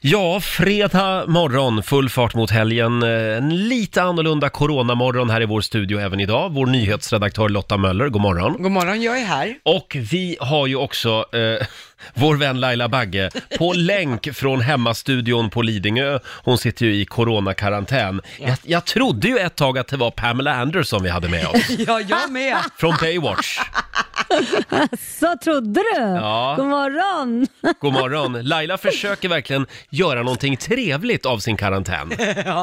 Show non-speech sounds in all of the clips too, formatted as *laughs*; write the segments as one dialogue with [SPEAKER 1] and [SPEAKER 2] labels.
[SPEAKER 1] Ja, fredag morgon, full fart mot helgen. Eh, En lite annorlunda coronamorgon här i vår studio även idag. Vår nyhetsredaktör Lotta Möller, god morgon.
[SPEAKER 2] God morgon, jag är här.
[SPEAKER 1] Och vi har ju också eh, *laughs* vår vän Laila Bagge på länk från hemmastudion på Lidingö. Hon sitter ju i coronakarantän. Jag, jag trodde ju ett tag att det var Pamela Anderson vi hade med
[SPEAKER 2] *laughs*
[SPEAKER 1] oss,
[SPEAKER 2] *laughs* Ja,
[SPEAKER 1] *laughs*
[SPEAKER 2] jag med.
[SPEAKER 1] från Baywatch.
[SPEAKER 3] Så trodde du?
[SPEAKER 1] Ja.
[SPEAKER 3] God morgon!
[SPEAKER 1] God morgon. Laila försöker verkligen göra någonting trevligt av sin karantän.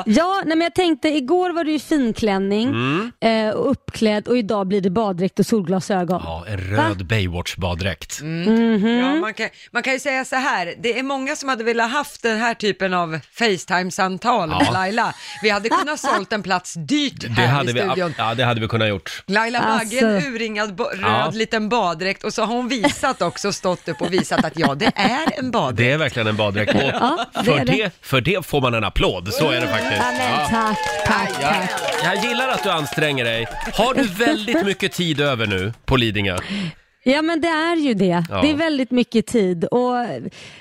[SPEAKER 3] Ja, nej men jag tänkte, igår var du i finklänning
[SPEAKER 1] Mm.
[SPEAKER 3] eh, och uppklädd och idag blir det baddräkt och solglasögon.
[SPEAKER 1] Ja, en röd Baywatch-baddräkt. Mm.
[SPEAKER 2] Ja, man, kan, man kan ju säga så här, det är många som hade velat haft den här typen av Facetime-samtal
[SPEAKER 1] Ja.
[SPEAKER 2] med Laila. Vi hade kunnat sålt en plats dyrt här
[SPEAKER 1] Det hade,
[SPEAKER 2] i
[SPEAKER 1] vi,
[SPEAKER 2] studion.
[SPEAKER 1] ja, det hade vi kunnat gjort.
[SPEAKER 2] Laila Bagge, en
[SPEAKER 3] Alltså.
[SPEAKER 2] urringad bo- röd
[SPEAKER 1] Ja.
[SPEAKER 2] liten baddräkt och så har hon visat också, stått upp och visat att ja, det är en baddräkt.
[SPEAKER 1] Det är verkligen en baddräkt.
[SPEAKER 3] *laughs*
[SPEAKER 1] Och
[SPEAKER 3] det
[SPEAKER 1] för,
[SPEAKER 3] är
[SPEAKER 1] det.
[SPEAKER 3] det. Mm.
[SPEAKER 1] för det får man en applåd, så är det faktiskt.
[SPEAKER 3] Ja, men
[SPEAKER 1] Ja.
[SPEAKER 3] tack, tack,
[SPEAKER 1] Jag,
[SPEAKER 3] tack.
[SPEAKER 1] jag gillar att du anstränger dig. Har du väldigt
[SPEAKER 3] *laughs*
[SPEAKER 1] mycket tid över nu på Lidingö?
[SPEAKER 3] Ja men det är ju det.
[SPEAKER 1] Ja.
[SPEAKER 3] Det är väldigt mycket tid och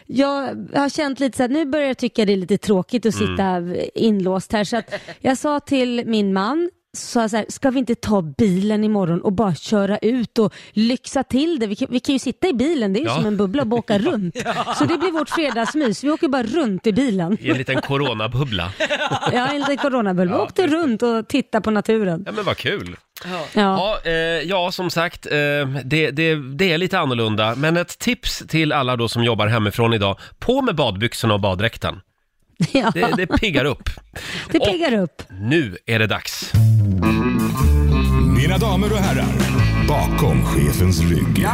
[SPEAKER 3] jag har känt lite så att nu börjar jag tycka det är lite tråkigt
[SPEAKER 1] Mm.
[SPEAKER 3] att sitta inlåst här så att jag sa till min man så jag så här, ska vi inte ta bilen imorgon och bara köra ut och lyxa till det? Vi kan, vi kan ju sitta i bilen, det är ju
[SPEAKER 1] Ja.
[SPEAKER 3] som en bubbla och bara
[SPEAKER 1] *laughs*
[SPEAKER 3] åka runt. Så det blir vårt fredagsmys, vi åker bara runt i bilen.
[SPEAKER 1] I en liten coronabubbla?
[SPEAKER 3] Jag har en liten coronabubbla, åkte runt och tittade på naturen.
[SPEAKER 1] Ja, men vad kul.
[SPEAKER 3] Ja.
[SPEAKER 1] Ja, eh, ja som sagt, eh, det, det, det är lite annorlunda. Men ett tips till alla då som jobbar hemifrån idag. På med badbyxorna och baddräkten.
[SPEAKER 3] *laughs* Ja.
[SPEAKER 1] Det, det piggar upp.
[SPEAKER 3] Det piggar upp.
[SPEAKER 1] Nu är det dags.
[SPEAKER 4] Mina damer och herrar, bakom chefens rygg.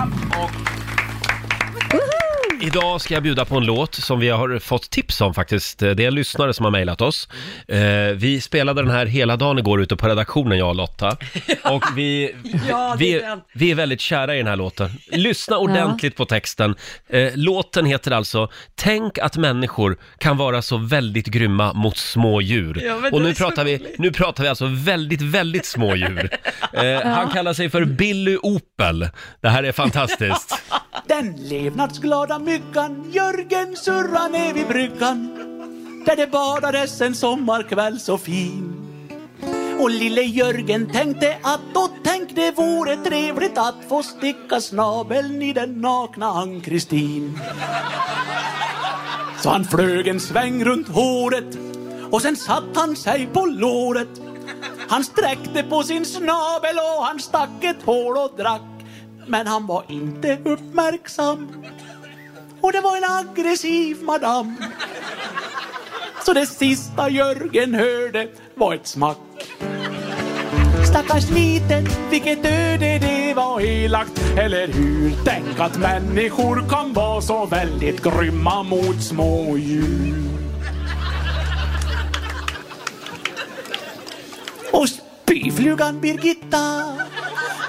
[SPEAKER 1] Idag ska jag bjuda på en låt som vi har fått tips om faktiskt. Det är en lyssnare som har mejlat oss. Eh, vi spelade den här hela dagen igår ute på redaktionen, jag och
[SPEAKER 2] *laughs*
[SPEAKER 1] Lotta. Och vi,
[SPEAKER 2] Ja, det är
[SPEAKER 1] vi,
[SPEAKER 2] den.
[SPEAKER 1] vi är väldigt kära i den här låten. Lyssna ordentligt på texten. Eh, låten heter alltså Tänk att människor kan vara så väldigt grymma mot små djur.
[SPEAKER 2] Ja, men
[SPEAKER 1] och
[SPEAKER 2] det
[SPEAKER 1] nu
[SPEAKER 2] är så
[SPEAKER 1] pratar, vi, nu pratar vi alltså väldigt, väldigt små djur.
[SPEAKER 2] *laughs*
[SPEAKER 1] Eh, Han kallar sig för Billy Opel. Det här är fantastiskt.
[SPEAKER 5] Den levnadsglada myggan Jörgen surra ner vid bryggan där det badades en sommarkväll så fin. Och lille Jörgen tänkte att och tänk det vore trevligt att få sticka snabeln i den nakna Ann-Kristin. Så han flög en sväng runt håret och sen satt han sig på låret. Han sträckte på sin snabel och han stack ett hål och drack. Men han var inte uppmärksam. Och det var en aggressiv madam. Så det sista Jörgen hörde var ett smack. Stackars liten, vilket öde det var elakt, eller hur? Tänk att människor kan vara så väldigt grymma mot smådjur. Och spyflugan Birgitta,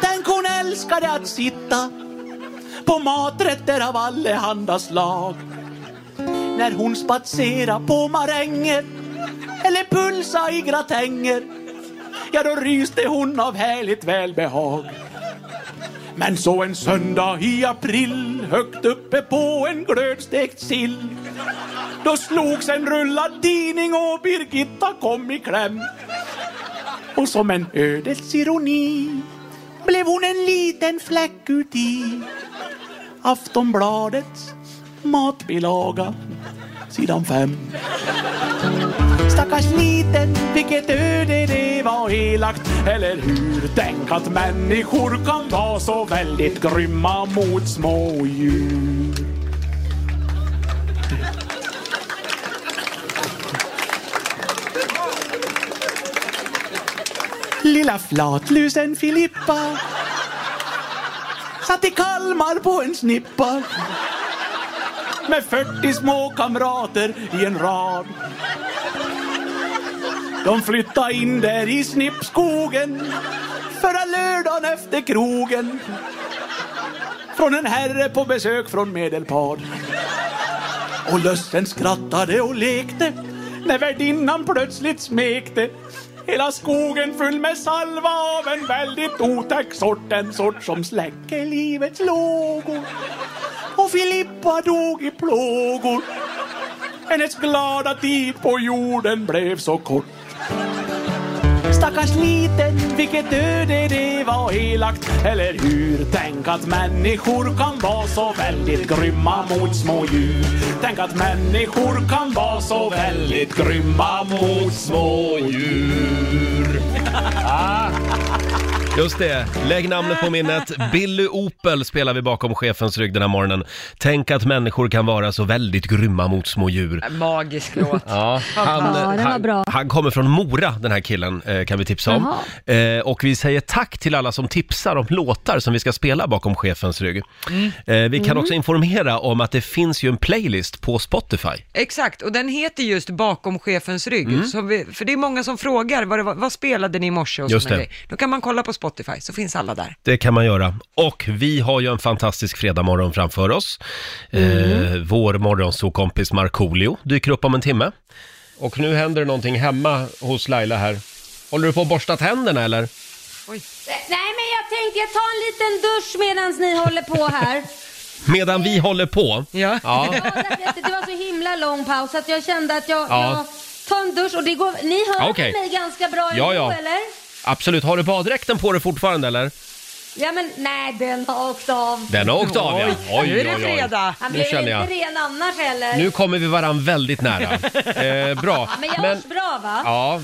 [SPEAKER 5] tänk hon älskade att sitta på maträtter av allehanda slag. När hon spatsera på maränger eller pulsa i gratänger, ja då ryste hon av härligt välbehag. Men så en söndag i april, högt uppe på en glödstekt sill, då slogs en rullad tidning och Birgitta kom i kläm. Och som en ödets ironi blev hon en liten fläck uti Aftonbladets matbilaga, sidan fem. Stackars liten, vilket öde det var elakt, eller hur? Tänk att människor kan vara så väldigt grymma mot smådjur. Lilla flatlusen Filippa satt i Kalmar på en snippa med 40 små kamrater i en rad. De flyttade in där i snippskogen förra lördagen efter krogen från en herre på besök från Medelpad. Och lusten skrattade och lekte när värdinnan plötsligt smekte hela skogen full med salva av en väldigt otäck sort. En sort som släcker livets lågor. Och Filippa dog i plågor. Hennes glada tid på jorden blev så kort Stackars liten, vilket öde det var elakt Eller hur? Tänk att människor kan vara så väldigt grymma mot små djur Tänk att människor kan vara så väldigt grymma mot små djur
[SPEAKER 1] Just det, lägg namnet på minnet. Billy Opel spelar vi bakom chefens rygg den här morgonen. Tänk att människor kan vara så väldigt grymma mot små djur.
[SPEAKER 2] Magisk låt.
[SPEAKER 1] Ja, han,
[SPEAKER 3] Ja, den var
[SPEAKER 1] han,
[SPEAKER 3] bra.
[SPEAKER 1] han kommer från Mora, den här killen, eh, kan vi tipsa om. Eh, och vi säger tack till alla som tipsar om låtar som vi ska spela bakom chefens rygg.
[SPEAKER 3] Mm.
[SPEAKER 1] Eh, vi kan också informera om att det finns ju en playlist på Spotify.
[SPEAKER 2] Exakt, och den heter just Bakom chefens rygg.
[SPEAKER 1] Mm.
[SPEAKER 2] Så vi, för det är många som frågar, vad, det var, vad spelade ni i morse? Och
[SPEAKER 1] Just
[SPEAKER 2] såna
[SPEAKER 1] det.
[SPEAKER 2] grejer. Då kan man kolla på Spotify, så finns alla där.
[SPEAKER 1] Det kan man göra. Och vi har ju en fantastisk fredagmorgon framför oss. Eh,
[SPEAKER 3] Mm.
[SPEAKER 1] vår morgonsokompis Markoolio dyker upp om en timme. Och nu händer det någonting hemma hos Laila här. Håller du på att borsta tänderna eller?
[SPEAKER 3] Nej men jag tänkte jag tar en liten dusch medan ni håller på här.
[SPEAKER 1] Medan vi håller på.
[SPEAKER 2] Ja.
[SPEAKER 1] Ja,
[SPEAKER 3] Ja, därför att det var så himla lång paus att jag kände att jag,
[SPEAKER 1] Ja.
[SPEAKER 3] jag tar en dusch och det går, ni hör
[SPEAKER 1] Okej.
[SPEAKER 3] mig ganska bra
[SPEAKER 1] Ja,
[SPEAKER 3] ändå,
[SPEAKER 1] ja.
[SPEAKER 3] eller?
[SPEAKER 1] absolut. Har du baddräkten på dig fortfarande eller?
[SPEAKER 3] Ja men nej den har åkt av.
[SPEAKER 1] Den har åkt av ja. Oj,
[SPEAKER 2] nu är det
[SPEAKER 1] oj, oj.
[SPEAKER 2] fredag.
[SPEAKER 3] Han
[SPEAKER 1] Nu
[SPEAKER 3] blev
[SPEAKER 1] känner
[SPEAKER 3] inte
[SPEAKER 1] jag.
[SPEAKER 3] ren annars heller.
[SPEAKER 1] Nu kommer vi varann väldigt
[SPEAKER 3] *laughs*
[SPEAKER 1] nära. Eh, bra.
[SPEAKER 3] Men jag hörs bra va?
[SPEAKER 1] ja,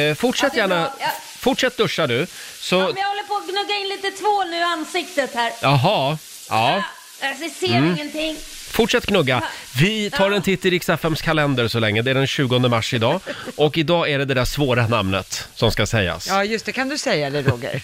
[SPEAKER 1] eh, fortsätt
[SPEAKER 3] Ja, det är bra.
[SPEAKER 1] gärna.
[SPEAKER 3] Ja.
[SPEAKER 1] Fortsätt duscha du.
[SPEAKER 3] Ja,
[SPEAKER 1] Så,
[SPEAKER 3] men jag håller på att gnugga in lite tvål nu i ansiktet här.
[SPEAKER 1] jaha. Ja.
[SPEAKER 3] Alltså, jag ser
[SPEAKER 1] Mm.
[SPEAKER 3] ingenting.
[SPEAKER 1] Fortsätt knugga. Vi tar en titt i riks kalender så länge. Det är den 20 mars idag. Och idag är det det där svåra namnet som ska sägas.
[SPEAKER 2] Ja, just det, kan du säga
[SPEAKER 1] *laughs*
[SPEAKER 2] det Roger?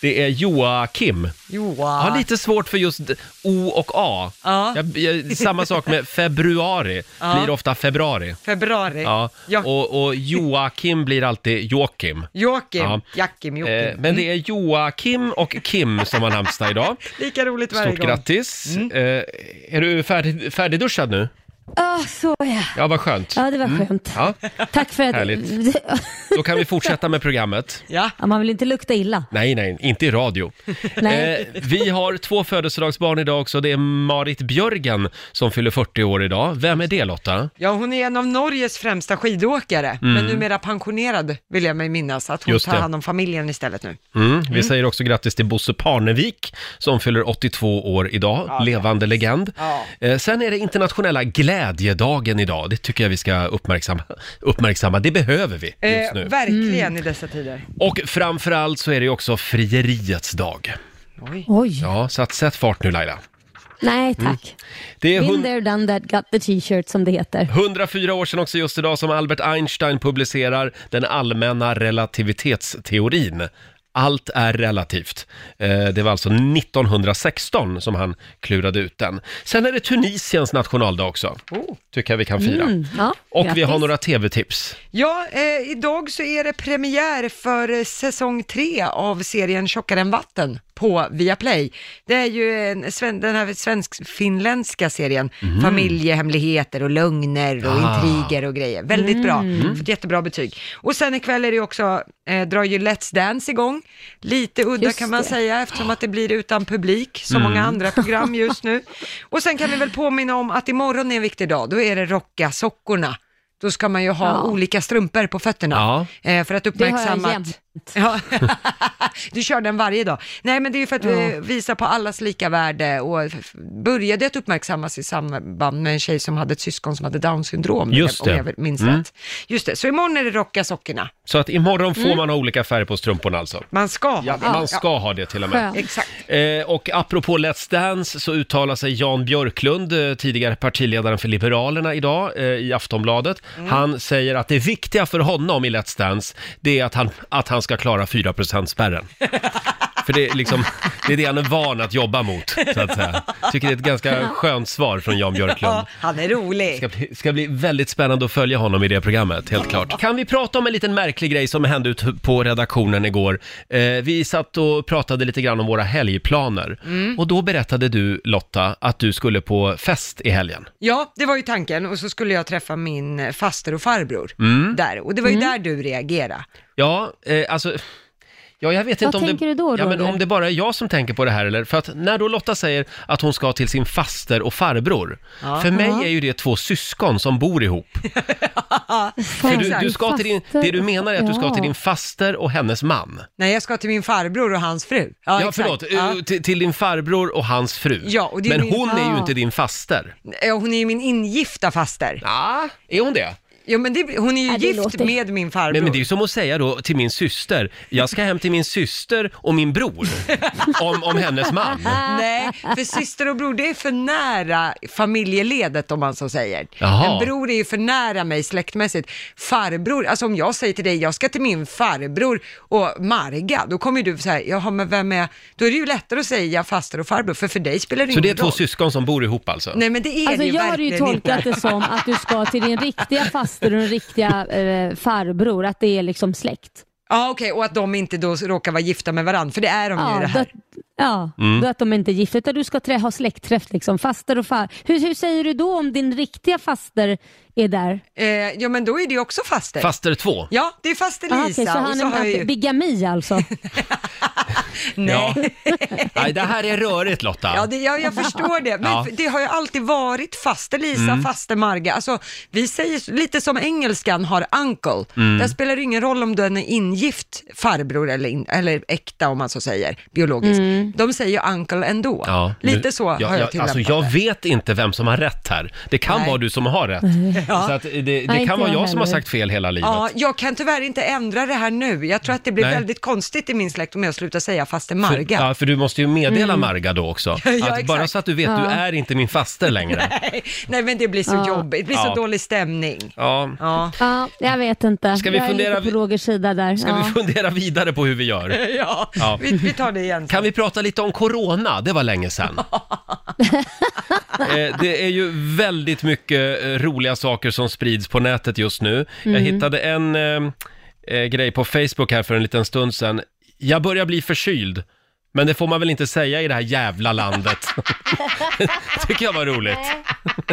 [SPEAKER 1] Det är Joakim.
[SPEAKER 2] Joa.
[SPEAKER 1] Jag har lite svårt för just O och A.
[SPEAKER 2] Ja.
[SPEAKER 1] Jag, jag, samma sak med februari.
[SPEAKER 2] Ja.
[SPEAKER 1] Blir ofta februari.
[SPEAKER 2] Februari.
[SPEAKER 1] Ja.
[SPEAKER 2] Ja.
[SPEAKER 1] Och, och Joakim blir alltid Joakim.
[SPEAKER 2] Joakim,
[SPEAKER 1] Ja.
[SPEAKER 2] Jakim, Joakim.
[SPEAKER 1] Eh, men det är Joakim och Kim som har namnsdag
[SPEAKER 2] *laughs*
[SPEAKER 1] idag.
[SPEAKER 2] Lika roligt varje
[SPEAKER 1] Stort
[SPEAKER 2] gång.
[SPEAKER 1] grattis.
[SPEAKER 2] Mm.
[SPEAKER 1] Eh, är du färdig, färdigduschad nu?
[SPEAKER 3] Ja, så ja.
[SPEAKER 1] Ja, vad skönt.
[SPEAKER 3] Ja, det var skönt.
[SPEAKER 1] Mm. Ja.
[SPEAKER 3] Tack för att...
[SPEAKER 1] Härligt. Då kan vi fortsätta med programmet.
[SPEAKER 2] Ja.
[SPEAKER 3] *laughs* ja, man vill inte lukta illa.
[SPEAKER 1] Nej, nej, inte i radio.
[SPEAKER 3] Nej.
[SPEAKER 1] Eh, vi har två födelsedagsbarn idag också. Det är Marit Björgen som fyller 40 år idag. Vem är det Lotta?
[SPEAKER 2] ja, hon är en av Norges främsta skidåkare, men numera pensionerad vill jag mig minnas, att hon
[SPEAKER 1] Mm. Just
[SPEAKER 2] tar
[SPEAKER 1] det.
[SPEAKER 2] hand om familjen istället nu.
[SPEAKER 1] Mm. Vi säger också grattis till Bosse Parnevik som fyller 82 år idag. Levande legend.
[SPEAKER 2] Ja.
[SPEAKER 1] Eh, sen är det internationella glädjedagen idag. Det tycker jag vi ska uppmärksamma. uppmärksamma. Det behöver vi just
[SPEAKER 2] Eh,
[SPEAKER 1] nu. Mm.
[SPEAKER 2] verkligen i dessa tider.
[SPEAKER 1] Och framförallt så är det ju också frieriets dag.
[SPEAKER 2] Oj.
[SPEAKER 3] Oj.
[SPEAKER 1] Ja, så att sätt fart nu Laila.
[SPEAKER 3] Nej, tack.
[SPEAKER 1] Det är
[SPEAKER 3] Been
[SPEAKER 1] hund-
[SPEAKER 3] there, done that, got the t-shirt som det heter.
[SPEAKER 1] 104 år sedan också just idag som Albert Einstein publicerar den allmänna relativitetsteorin. Allt är relativt. Eh, Det var alltså 1916 som han klurade ut den. Sen är det Tunisiens nationaldag också. Tycker jag vi kan fira.
[SPEAKER 3] Oh. Mm, ja,
[SPEAKER 1] Och vi har
[SPEAKER 3] grattis.
[SPEAKER 1] några tv-tips.
[SPEAKER 2] Ja, eh, idag så är det premiär för eh, säsong tre av serien Tjockare än vatten på Viaplay. Det är ju en, sven- den här svensk-finländska serien, familjehemligheter och lögner och
[SPEAKER 1] Ah.
[SPEAKER 2] intriger och grejer. Väldigt bra, fått jättebra betyg. Och sen ikväll är det ju också, eh, drar ju Let's Dance igång. Lite udda
[SPEAKER 3] Just
[SPEAKER 2] kan man
[SPEAKER 3] det.
[SPEAKER 2] säga eftersom att det blir utan publik, som många
[SPEAKER 1] Mm.
[SPEAKER 2] andra program just nu. Och sen kan vi väl påminna om att imorgon är en viktig dag, då är det rocka sockorna. Då ska man ju ha
[SPEAKER 3] Ja.
[SPEAKER 2] olika strumpor på fötterna. Eh, för att
[SPEAKER 3] Det har
[SPEAKER 2] uppmärksamma
[SPEAKER 3] jag
[SPEAKER 2] att...
[SPEAKER 3] jämt.
[SPEAKER 2] Ja. *laughs* du kör den varje dag. Nej, men det är ju för att eh, visa på allas lika värde och f- började att uppmärksammas i samband med en tjej som hade ett syskon som hade Downs syndrom,
[SPEAKER 1] Just
[SPEAKER 2] om
[SPEAKER 1] det.
[SPEAKER 2] jag minns
[SPEAKER 1] Mm.
[SPEAKER 2] rätt. Just det, så imorgon är det rocka sockorna.
[SPEAKER 1] Så att imorgon
[SPEAKER 3] Mm.
[SPEAKER 1] får man ha olika färger på strumporna alltså.
[SPEAKER 2] Man ska ha det.
[SPEAKER 1] Man ska ha det till och med.
[SPEAKER 3] Skönt.
[SPEAKER 2] Exakt.
[SPEAKER 1] Eh, och apropå Let's Dance så uttalar sig Jan Björklund, eh, tidigare partiledaren för Liberalerna idag eh, i Aftonbladet. Han säger att det viktiga för honom i Let's Dance, det är att han, att han ska klara 4%-spärren. För det är, liksom, det är det han är van att jobba mot, så att säga. Tycker det är ett ganska skönt svar från Jan Björklund.
[SPEAKER 2] Ja, han är rolig.
[SPEAKER 1] Det ska bli, ska bli väldigt spännande att följa honom i det programmet, helt klart. Kan vi prata om en liten märklig grej som hände ute på redaktionen igår? Eh, vi satt och pratade lite grann om våra helgplaner. Och då berättade du, Lotta, att du skulle på fest i helgen.
[SPEAKER 2] Ja, det var ju tanken och så skulle jag träffa min
[SPEAKER 1] Mm.
[SPEAKER 2] faster och farbror där och det var ju där du reagerade.
[SPEAKER 1] Ja, eh, alltså... Ja, jag vet
[SPEAKER 3] Vad
[SPEAKER 1] inte om
[SPEAKER 3] tänker
[SPEAKER 1] det,
[SPEAKER 3] du då,
[SPEAKER 1] ja, men
[SPEAKER 3] Roger?
[SPEAKER 1] om det bara är jag som tänker på det här eller? För att när då Lotta säger att hon ska till sin faster och farbror. För mig är ju det två syskon som bor ihop. För du, du ska till din, det du menar är att du ska till din faster och hennes man.
[SPEAKER 2] Nej, jag ska till min farbror och hans fru.
[SPEAKER 1] Ja,
[SPEAKER 2] exakt.
[SPEAKER 1] förlåt.
[SPEAKER 2] Ja.
[SPEAKER 1] eh, Till, till din farbror och hans fru.
[SPEAKER 2] Ja, och det är
[SPEAKER 1] men
[SPEAKER 2] min-
[SPEAKER 1] hon är ju
[SPEAKER 3] Ja.
[SPEAKER 1] inte din faster.
[SPEAKER 2] Eh, Hon är ju min ingifta faster.
[SPEAKER 1] Ja, är hon det?
[SPEAKER 2] Jo, men det, hon är ju
[SPEAKER 3] Ja, det
[SPEAKER 2] gift
[SPEAKER 3] låter-
[SPEAKER 2] med min farbror.
[SPEAKER 1] Men, men det är ju som att säga då till min syster, jag ska hem till min syster och min bror, om, om hennes man.
[SPEAKER 2] Nej, för syster och bror det är för nära familjeledet om man så säger.
[SPEAKER 1] Jaha.
[SPEAKER 2] En bror är ju för nära mig släktmässigt. Farbror, alltså om jag säger till dig, jag ska till min farbror och Marga, då kommer ju du säga, jaha men vem är, då är det ju lättare att säga faster och farbror, för för dig spelar det
[SPEAKER 1] Så
[SPEAKER 2] ingen
[SPEAKER 1] det är två
[SPEAKER 2] roll.
[SPEAKER 1] syskon som bor ihop alltså?
[SPEAKER 2] Nej men det är
[SPEAKER 3] Alltså
[SPEAKER 2] det
[SPEAKER 3] jag har ju
[SPEAKER 2] verkligen
[SPEAKER 3] tolkat
[SPEAKER 2] inte.
[SPEAKER 3] det som att du ska till din riktiga faster och din riktiga eh, farbror, att det är liksom släkt.
[SPEAKER 2] Ja okej, och att de inte då råkar vara gifta med varandra, för det är de ju i det
[SPEAKER 3] då
[SPEAKER 2] här.
[SPEAKER 3] att, ja
[SPEAKER 1] Mm.
[SPEAKER 3] då att de inte är gifta, utan du ska trä, ha släktträff liksom, faster och far. Hur, hur säger du då om din riktiga faster är där?
[SPEAKER 2] Eh, ja men då är det ju också faster.
[SPEAKER 1] Faster två?
[SPEAKER 2] Ja, det är faster Lisa.
[SPEAKER 3] Ah, okej, så
[SPEAKER 2] och
[SPEAKER 3] han
[SPEAKER 2] så har
[SPEAKER 3] är
[SPEAKER 2] jag ju...
[SPEAKER 3] bigami
[SPEAKER 2] *laughs*
[SPEAKER 3] alltså?
[SPEAKER 1] Ja. Nej, det här är rörigt Lotta.
[SPEAKER 2] Ja, det, ja, jag förstår det. Men
[SPEAKER 1] Ja. Mm.
[SPEAKER 2] f- det har ju alltid varit faste Lisa, faste Marga. Alltså, vi säger s- lite som engelskan har uncle.
[SPEAKER 1] Mm.
[SPEAKER 2] Där spelar det ingen roll om den är ingift farbror eller, in, eller äkta om man så säger, biologiskt. De säger ju uncle ändå.
[SPEAKER 1] Ja, nu-
[SPEAKER 2] lite så
[SPEAKER 1] ja,
[SPEAKER 2] har
[SPEAKER 1] ja,
[SPEAKER 2] jag tillämpat
[SPEAKER 1] Alltså jag
[SPEAKER 2] det.
[SPEAKER 1] vet inte vem som har rätt här. Det kan
[SPEAKER 2] Nej.
[SPEAKER 1] vara du som har rätt. Så att eh, det, det
[SPEAKER 3] Nej,
[SPEAKER 1] kan
[SPEAKER 3] inte
[SPEAKER 1] vara jag
[SPEAKER 3] jag
[SPEAKER 1] som har
[SPEAKER 3] heller.
[SPEAKER 1] sagt fel hela livet.
[SPEAKER 2] Ja, jag kan tyvärr inte ändra det här nu. Jag tror att det blir
[SPEAKER 1] Nej.
[SPEAKER 2] väldigt konstigt i min släkt om jag slutar säga faste
[SPEAKER 1] För,
[SPEAKER 2] Marga.
[SPEAKER 1] ja, för du måste ju meddela Marga då också.
[SPEAKER 2] Ja,
[SPEAKER 1] att bara
[SPEAKER 2] exakt.
[SPEAKER 1] så att du vet, du
[SPEAKER 3] Mm. Ja.
[SPEAKER 1] är inte min faster
[SPEAKER 2] *laughs*
[SPEAKER 1] längre.
[SPEAKER 2] Nej, men det blir så jobbigt. Det blir
[SPEAKER 1] Ja.
[SPEAKER 2] så dålig stämning.
[SPEAKER 1] Ja.
[SPEAKER 2] Ja.
[SPEAKER 3] Ja, jag vet inte.
[SPEAKER 1] Ska vi
[SPEAKER 3] jag
[SPEAKER 1] fundera
[SPEAKER 3] är lite
[SPEAKER 1] vid-
[SPEAKER 3] på Rogers sida där.
[SPEAKER 1] Ska
[SPEAKER 3] ja.
[SPEAKER 1] vi fundera vidare på hur vi gör?
[SPEAKER 2] *laughs* Ja,
[SPEAKER 1] Ja.
[SPEAKER 2] Vi, vi tar det igen.
[SPEAKER 1] Kan vi prata lite om corona? Det var länge *laughs* sedan. Eh, Det är ju väldigt mycket eh, roliga saker som sprids på nätet just nu. Jag hittade en eh, eh, grej på Facebook här för en liten stund sedan. Jag börjar bli förkyld, men det får man väl inte säga i det här jävla landet. *laughs* Tycker jag var roligt.
[SPEAKER 3] *laughs*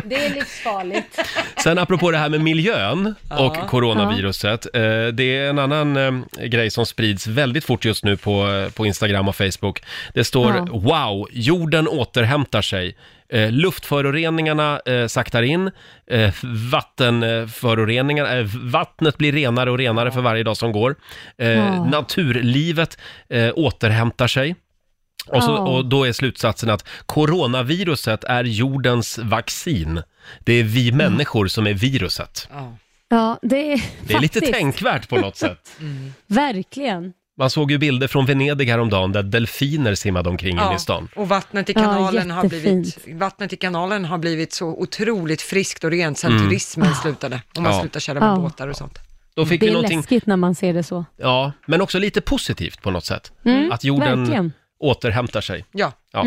[SPEAKER 3] Det är livsfarligt.
[SPEAKER 1] Sen apropå det här med miljön och coronaviruset. eh, Det är en annan eh, grej som sprids väldigt fort just nu på, eh, på Instagram och Facebook. Det står
[SPEAKER 3] Ja.
[SPEAKER 1] “Wow, jorden återhämtar sig”. Eh, luftföroreningarna eh, saktar in, eh, vattenföroreningarna, eh, vattnet blir renare och renare för varje dag som går. Eh,
[SPEAKER 3] Ja.
[SPEAKER 1] Naturlivet eh, återhämtar sig. Och, så,
[SPEAKER 3] Ja.
[SPEAKER 1] och då är slutsatsen att coronaviruset är jordens vaccin. Det är
[SPEAKER 3] Mm.
[SPEAKER 1] vi människor som är viruset.
[SPEAKER 2] Ja.
[SPEAKER 3] Ja, det är,
[SPEAKER 1] Det är lite
[SPEAKER 3] faktiskt,
[SPEAKER 1] tänkvärt på något
[SPEAKER 3] *laughs*
[SPEAKER 1] sätt.
[SPEAKER 3] Verkligen.
[SPEAKER 1] Man såg ju bilder från Venedig häromdagen där delfiner simmade omkring inne i stan.
[SPEAKER 2] Och vattnet i
[SPEAKER 3] Ja,
[SPEAKER 2] kanalen har blivit,
[SPEAKER 3] jättefint.
[SPEAKER 2] vattnet i kanalen har blivit så otroligt friskt och rent sen turismen slutade. Om man
[SPEAKER 1] Mm. Ja.
[SPEAKER 2] slutar köra med
[SPEAKER 3] Ah. Ja.
[SPEAKER 2] båtar och sånt.
[SPEAKER 1] Då fick
[SPEAKER 3] Det
[SPEAKER 1] vi
[SPEAKER 3] är
[SPEAKER 1] någonting,
[SPEAKER 3] läskigt när man ser det så.
[SPEAKER 1] ja, men också lite positivt på något sätt. att jorden
[SPEAKER 3] Mm, verkligen. Mm.
[SPEAKER 1] återhämtar sig.
[SPEAKER 2] Ja,
[SPEAKER 1] Ja.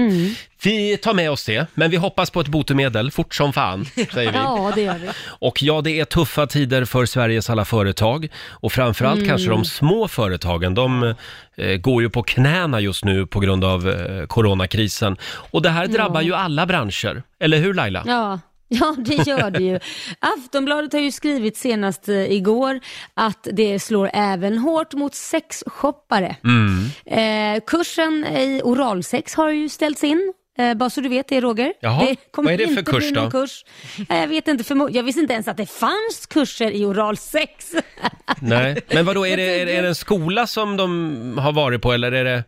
[SPEAKER 1] Vi tar med oss det, men vi hoppas på ett botemedel fort som fan, säger vi.
[SPEAKER 3] Ja, det gör vi.
[SPEAKER 1] Och ja, det är tuffa tider för Sveriges alla företag och framförallt kanske de små företagen. De eh, går ju på knäna just nu på grund av eh, coronakrisen. Och det här drabbar ju alla branscher, eller hur Laila?
[SPEAKER 3] *laughs* Ja. Ja, det gör det ju. Aftonbladet har ju skrivit senast eh, igår att det slår även hårt mot sexshoppare.
[SPEAKER 1] Mm.
[SPEAKER 3] Eh, kursen i oralsex har ju ställts in. Eh, bara så du vet det Roger.
[SPEAKER 1] Jaha,
[SPEAKER 3] det kommer
[SPEAKER 1] vad är det för
[SPEAKER 3] inte
[SPEAKER 1] kurs
[SPEAKER 3] bli någon
[SPEAKER 1] då?
[SPEAKER 3] Kurs. Eh, jag vet inte, förmo- jag visste inte ens att det fanns kurser i oralsex. *laughs*
[SPEAKER 1] Nej. Men vadå, är det, är, det- är det en skola som de har varit på eller är det...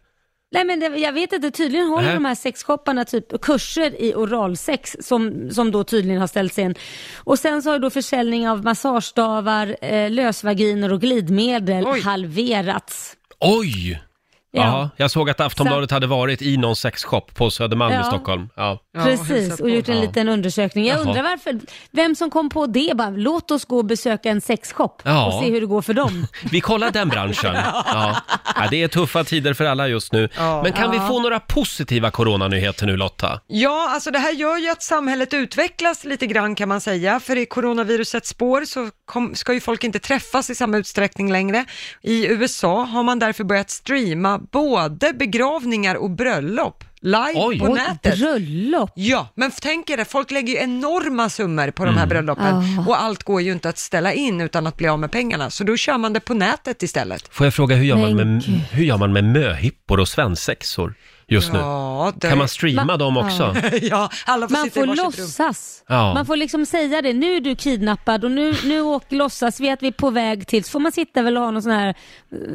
[SPEAKER 3] Nej men det, jag vet inte, tydligen håller
[SPEAKER 1] Nej.
[SPEAKER 3] de här sexshopparna typ kurser i oralsex som, som då tydligen har ställts in. Och sen så har ju då försäljning av massagestavar, eh, lösvaginer och glidmedel
[SPEAKER 2] Oj.
[SPEAKER 3] halverats.
[SPEAKER 1] Oj! Ja. jag såg att Aftonbladet hade varit i någon sexshop på Södermalm i
[SPEAKER 3] Ja.
[SPEAKER 1] Stockholm. Ja.
[SPEAKER 2] Ja, och hälsa
[SPEAKER 3] Precis,
[SPEAKER 2] på.
[SPEAKER 3] och gjort en
[SPEAKER 1] Ja.
[SPEAKER 3] liten undersökning. Jag
[SPEAKER 1] Jaha.
[SPEAKER 3] undrar varför, vem som kom på det bara, låt oss gå och besöka en sexshop
[SPEAKER 1] Ja.
[SPEAKER 3] och se hur det går för dem.
[SPEAKER 1] Vi kollar den branschen. Ja. Ja, det är tuffa tider för alla just nu.
[SPEAKER 2] Ja.
[SPEAKER 1] Men kan vi få några positiva coronanyheter nu Lotta?
[SPEAKER 2] ja, alltså det här gör ju att samhället utvecklas lite grann kan man säga, för i coronavirusets spår så kom, ska ju folk inte träffas i samma utsträckning längre. I USA har man därför börjat streama både begravningar och bröllop live
[SPEAKER 1] Oj.
[SPEAKER 2] på
[SPEAKER 1] Oj,
[SPEAKER 2] nätet.
[SPEAKER 3] Bröllop.
[SPEAKER 2] Ja, men tänk er det, folk lägger ju enorma summor på de här bröllopen
[SPEAKER 3] Ja.
[SPEAKER 2] och allt går ju inte att ställa in utan att bli av med pengarna, så då kör man det på nätet istället.
[SPEAKER 1] Får jag fråga, hur gör, man med,
[SPEAKER 3] Men gud.
[SPEAKER 1] hur gör man med möhippor och svensexor just
[SPEAKER 2] Ja,
[SPEAKER 1] nu?
[SPEAKER 2] det,
[SPEAKER 1] Kan man streama
[SPEAKER 3] Ma-
[SPEAKER 1] dem också?
[SPEAKER 2] *laughs* ja alla får
[SPEAKER 3] Man
[SPEAKER 2] sitta
[SPEAKER 3] får
[SPEAKER 2] i varsitt rum.
[SPEAKER 3] låtsas.
[SPEAKER 1] Ja.
[SPEAKER 3] Man får liksom säga det. Nu är du kidnappad och nu, nu åk, låtsas vi att vi är på väg till... Så får man sitta väl och ha någon sån här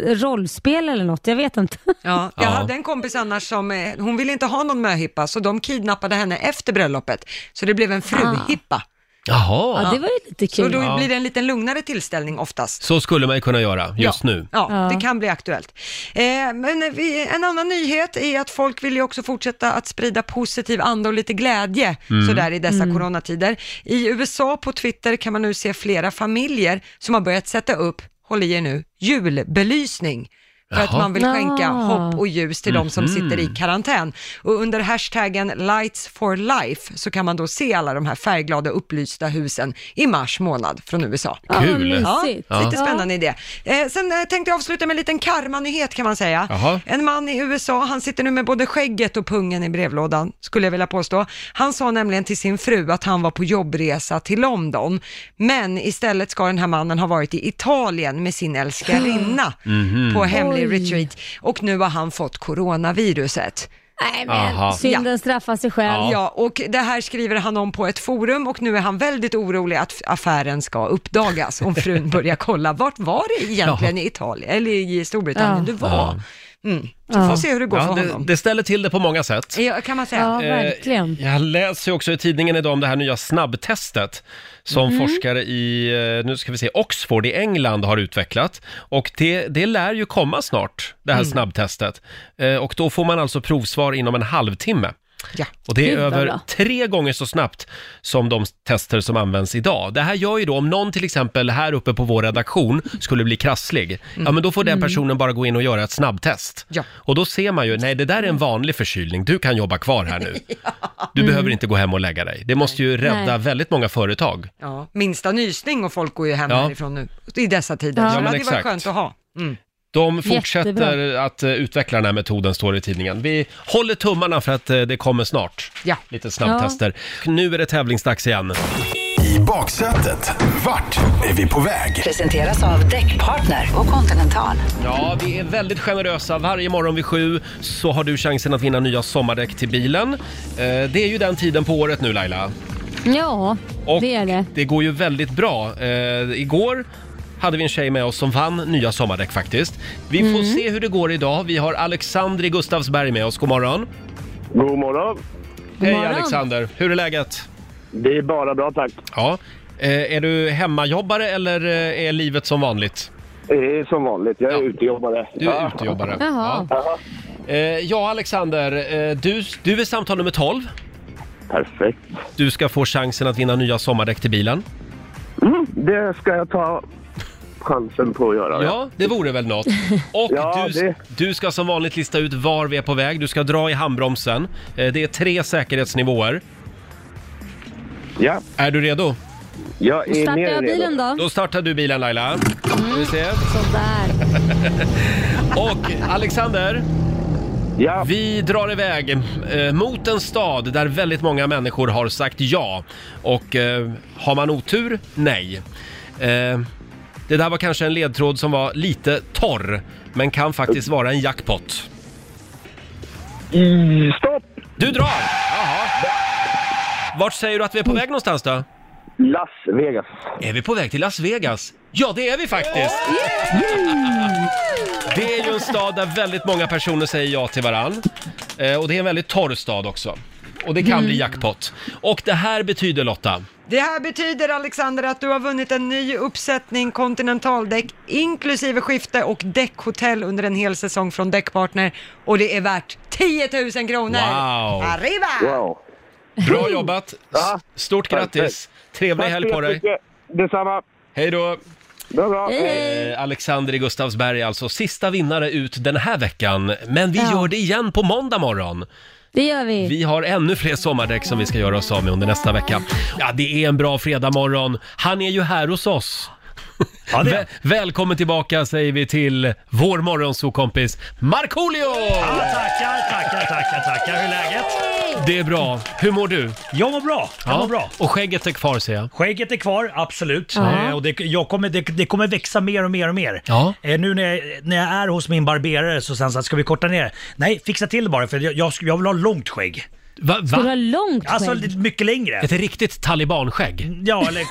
[SPEAKER 3] eh, rollspel eller något. Jag vet inte.
[SPEAKER 2] Ja, jag
[SPEAKER 1] Ja.
[SPEAKER 2] hade en kompis annars som, eh, hon ville inte ha någon möhippa, så de kidnappade henne efter bröllopet, så det blev en fruhippa.
[SPEAKER 1] Jaha,
[SPEAKER 3] *laughs* Ja, det var ju lite
[SPEAKER 2] Så
[SPEAKER 3] kul.
[SPEAKER 2] då
[SPEAKER 1] Ja.
[SPEAKER 2] blir det en liten lugnare tillställning oftast.
[SPEAKER 1] så skulle man ju kunna göra just
[SPEAKER 2] ja.
[SPEAKER 1] nu.
[SPEAKER 2] Ja,
[SPEAKER 3] Ja.
[SPEAKER 2] det kan bli aktuellt. Eh, men vi, en annan nyhet är att folk vill ju också fortsätta att sprida positiv anda och lite glädje
[SPEAKER 1] Mm.
[SPEAKER 2] sådär i dessa
[SPEAKER 3] Mm.
[SPEAKER 2] coronatider. I USA på Twitter kan man nu se flera familjer som har börjat sätta upp, håll i er nu, julbelysning. För att
[SPEAKER 1] Jaha. Mhm.
[SPEAKER 2] man vill skänka
[SPEAKER 3] Ja.
[SPEAKER 2] hopp och ljus till de som sitter i karantän. Och under hashtaggen Lights for Life så kan man då se alla de här färgglada upplysta husen i mars månad från USA.
[SPEAKER 1] Kul.
[SPEAKER 3] Ja,
[SPEAKER 2] Ja,
[SPEAKER 3] vad mysigt.
[SPEAKER 2] lite spännande idé. Eh, sen eh, tänkte jag avsluta med en liten karmanyhet kan man säga.
[SPEAKER 1] Jaha.
[SPEAKER 2] En man i USA, han sitter nu med både skägget och pungen i brevlådan, skulle jag vilja påstå. Han sa nämligen till sin fru att han var på jobbresa till London, men istället ska den här mannen ha varit i Italien med sin *gasps* älskarinna på hemlig
[SPEAKER 3] Oj.
[SPEAKER 2] retreat och nu har han fått coronaviruset.
[SPEAKER 3] Nej,
[SPEAKER 1] Aha.
[SPEAKER 3] men synden straffar sig själv.
[SPEAKER 2] Ja, och det här skriver han om på ett forum och nu är han väldigt orolig att f- affären ska uppdagas
[SPEAKER 1] *laughs*
[SPEAKER 2] om frun börjar kolla. Vart var det egentligen i Italien, eller i Storbritannien
[SPEAKER 3] Ja.
[SPEAKER 2] du var? Mm. Så får se hur det går
[SPEAKER 1] Ja,
[SPEAKER 2] för
[SPEAKER 1] det,
[SPEAKER 2] honom.
[SPEAKER 1] det ställer till det på många sätt.
[SPEAKER 2] Ja, kan man säga.
[SPEAKER 3] Ja,
[SPEAKER 1] Eh,
[SPEAKER 3] verkligen.
[SPEAKER 1] Jag läser ju också i tidningen idag om det här nya snabbtestet som
[SPEAKER 3] Mm.
[SPEAKER 1] forskare i, eh, nu ska vi se, Oxford i England har utvecklat. Och det, det lär ju komma snart, det här
[SPEAKER 3] Mm.
[SPEAKER 1] snabbtestet. Eh, Och då får man alltså provsvar inom en halvtimme.
[SPEAKER 2] Ja.
[SPEAKER 1] Och det är
[SPEAKER 3] Gud, vad
[SPEAKER 1] över
[SPEAKER 3] bra.
[SPEAKER 1] tre gånger så snabbt som de tester som används idag. Det här gör ju då, om någon till exempel här uppe på vår redaktion skulle bli krasslig, ja men då får
[SPEAKER 3] Mm.
[SPEAKER 1] den personen bara gå in och göra ett snabbtest.
[SPEAKER 2] Ja.
[SPEAKER 1] Och då ser man ju, nej det där är en vanlig förkylning, du kan jobba kvar här
[SPEAKER 3] *laughs*
[SPEAKER 1] nu. Du behöver inte gå hem och lägga dig. Det måste ju rädda
[SPEAKER 3] Mm. Nej.
[SPEAKER 1] väldigt många företag.
[SPEAKER 2] Ja, minsta nysning och folk går ju hem
[SPEAKER 1] Ja.
[SPEAKER 2] härifrån nu i dessa tider.
[SPEAKER 3] Ja.
[SPEAKER 2] Så
[SPEAKER 1] Ja,
[SPEAKER 2] det
[SPEAKER 1] men
[SPEAKER 2] hade varit
[SPEAKER 1] exakt.
[SPEAKER 2] skönt att ha. Mm.
[SPEAKER 1] De fortsätter att eh, utveckla den här metoden, står det i tidningen. Vi håller tummarna för att eh, det kommer snart.
[SPEAKER 2] Ja.
[SPEAKER 1] Lite snabbtester. Nu är det tävlingsdags igen.
[SPEAKER 4] I baksätet. Vart är vi på väg?
[SPEAKER 6] Presenteras av Däckpartner och Continental.
[SPEAKER 1] Ja, vi är väldigt generösa. Varje morgon vid sju så har du chansen att vinna nya sommardäck till bilen. Eh, Det är ju den tiden på året nu Laila.
[SPEAKER 3] Ja,
[SPEAKER 1] Och
[SPEAKER 3] det är det.
[SPEAKER 1] det går ju väldigt bra. Eh, Igår hade vi en tjej med oss som vann nya sommardäck faktiskt. Vi
[SPEAKER 3] Mm.
[SPEAKER 1] får se hur det går idag. Vi har Alexander i Gustavsberg med oss. God morgon.
[SPEAKER 7] God morgon.
[SPEAKER 1] Hej
[SPEAKER 3] morgon.
[SPEAKER 1] Alexander, hur är läget?
[SPEAKER 7] Det är bara bra tack.
[SPEAKER 1] Ja. Eh, Är du hemmajobbare eller eh, är livet som vanligt?
[SPEAKER 7] Det är som vanligt, jag är
[SPEAKER 1] Ja.
[SPEAKER 7] utejobbare.
[SPEAKER 1] Du är utejobbare.
[SPEAKER 3] Jaha.
[SPEAKER 1] Ja. Eh, Ja, Alexander, eh, du, du är samtal nummer 12.
[SPEAKER 7] Perfekt.
[SPEAKER 1] Du ska få chansen att vinna nya sommardäck till bilen.
[SPEAKER 7] Det ska jag ta chansen på att göra.
[SPEAKER 1] Ja, det vore väl något.
[SPEAKER 7] *laughs*
[SPEAKER 1] Och
[SPEAKER 7] Ja,
[SPEAKER 1] du,
[SPEAKER 7] det-
[SPEAKER 1] du ska som vanligt lista ut var vi är på väg. Du ska dra i handbromsen. Eh, Det är tre säkerhetsnivåer.
[SPEAKER 7] ja.
[SPEAKER 1] Är du redo?
[SPEAKER 7] Jag är
[SPEAKER 3] Startar
[SPEAKER 7] mer
[SPEAKER 3] jag
[SPEAKER 7] än
[SPEAKER 3] bilen
[SPEAKER 7] redo.
[SPEAKER 3] då?
[SPEAKER 1] Då startar du bilen Laila. Ska vi se.
[SPEAKER 3] Sådär.
[SPEAKER 1] Och Alexander,
[SPEAKER 7] Ja.
[SPEAKER 1] vi drar iväg eh, mot en stad där väldigt många människor har sagt ja. Och eh, har man otur? Nej. Eh, det där var kanske en ledtråd som var lite torr, men kan faktiskt vara en jackpot.
[SPEAKER 7] I- Stopp!
[SPEAKER 1] Du drar! Jaha. Vart säger du att vi är på väg någonstans då?
[SPEAKER 7] Las Vegas.
[SPEAKER 1] Är vi på väg till Las Vegas? Ja, det är vi faktiskt! Det är ju en stad där väldigt många personer säger ja till varann. Eh, Och det är en väldigt torr stad också. Och det kan bli jackpot. Och det här betyder Lotta,
[SPEAKER 2] Det här betyder Alexander att du har vunnit en ny uppsättning kontinentaldäck inklusive skifte och däckhotell under en hel säsong från Däckpartner och det är värt 10 000 kronor!
[SPEAKER 1] Wow.
[SPEAKER 2] Arriba!
[SPEAKER 7] Wow.
[SPEAKER 1] bra jobbat! S- Stort grattis! Trevlig helg på dig!
[SPEAKER 7] Detsamma.
[SPEAKER 1] Hej då!
[SPEAKER 7] Det var bra.
[SPEAKER 1] Eh, Alexander i Gustavsberg alltså, sista vinnare ut den här veckan. Men vi
[SPEAKER 3] Ja.
[SPEAKER 1] gör det igen på måndag morgon.
[SPEAKER 3] Det gör vi.
[SPEAKER 1] Vi har ännu fler sommardäck som vi ska göra oss av med under nästa vecka. Ja, det är en bra fredagmorgon. Han är ju här hos oss.
[SPEAKER 8] Ja, det
[SPEAKER 1] Vä-
[SPEAKER 8] är.
[SPEAKER 1] välkommen tillbaka säger vi till vår morgonsokompis Markoolio!
[SPEAKER 8] Ja, tackar, tackar, tackar, tackar. Hur är läget?
[SPEAKER 1] Det är bra. Hur mår du?
[SPEAKER 8] Jag mår bra. Jag mår bra.
[SPEAKER 1] Och skägget är kvar ser jag.
[SPEAKER 8] Skägget är kvar, absolut.
[SPEAKER 3] Ja.
[SPEAKER 8] Eh, och det, jag kommer, det, det kommer växa mer och mer och mer.
[SPEAKER 1] Ja.
[SPEAKER 8] Eh, nu när jag, när jag är hos min barberare så sen så här, ska vi korta ner? Nej, fixa till bara för jag, jag, sk- jag vill ha långt skägg.
[SPEAKER 1] Va?
[SPEAKER 3] Ska du ha
[SPEAKER 1] va?
[SPEAKER 3] långt skägg?
[SPEAKER 8] Alltså lite mycket längre.
[SPEAKER 1] Ett riktigt talibanskägg?
[SPEAKER 8] Ja, eller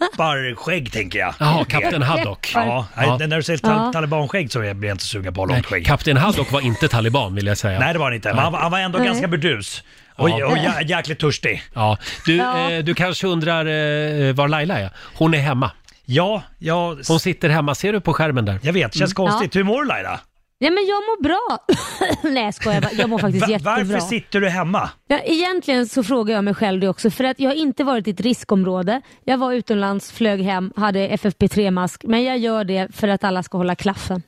[SPEAKER 8] skepparskägg tänker jag.
[SPEAKER 3] Mm.
[SPEAKER 1] Jaha, Kapten Haddock.
[SPEAKER 8] Ja, nej,
[SPEAKER 1] Ja.
[SPEAKER 8] när du säger tal- talibanskägg så blir jag inte sugen på att ha
[SPEAKER 1] Nej,
[SPEAKER 8] långt skägg.
[SPEAKER 1] Kapten Haddock var inte taliban vill jag säga.
[SPEAKER 8] Nej, det var han inte. Men han, han var ändå ganska burdus. Och,
[SPEAKER 1] Ja.
[SPEAKER 8] och jä, jäkligt törstig.
[SPEAKER 1] Ja. Du,
[SPEAKER 3] Ja.
[SPEAKER 1] Eh, du kanske undrar eh, var Laila är? Hon är hemma.
[SPEAKER 8] Ja, jag,
[SPEAKER 1] Hon sitter hemma, ser du på skärmen där?
[SPEAKER 8] jag vet.
[SPEAKER 1] Mm.
[SPEAKER 8] Känns konstigt. Hur mår du Laila?
[SPEAKER 3] Ja, men jag mår bra. *laughs* Nej jag skojar bara. Jag mår faktiskt
[SPEAKER 8] Va-
[SPEAKER 3] jättebra.
[SPEAKER 8] varför sitter du hemma?
[SPEAKER 3] Ja, egentligen så frågar jag mig själv det också för att jag har inte varit i ett riskområde. Jag var utomlands, flög hem, hade FFP3-mask. Men jag gör det för att alla ska hålla klaffen.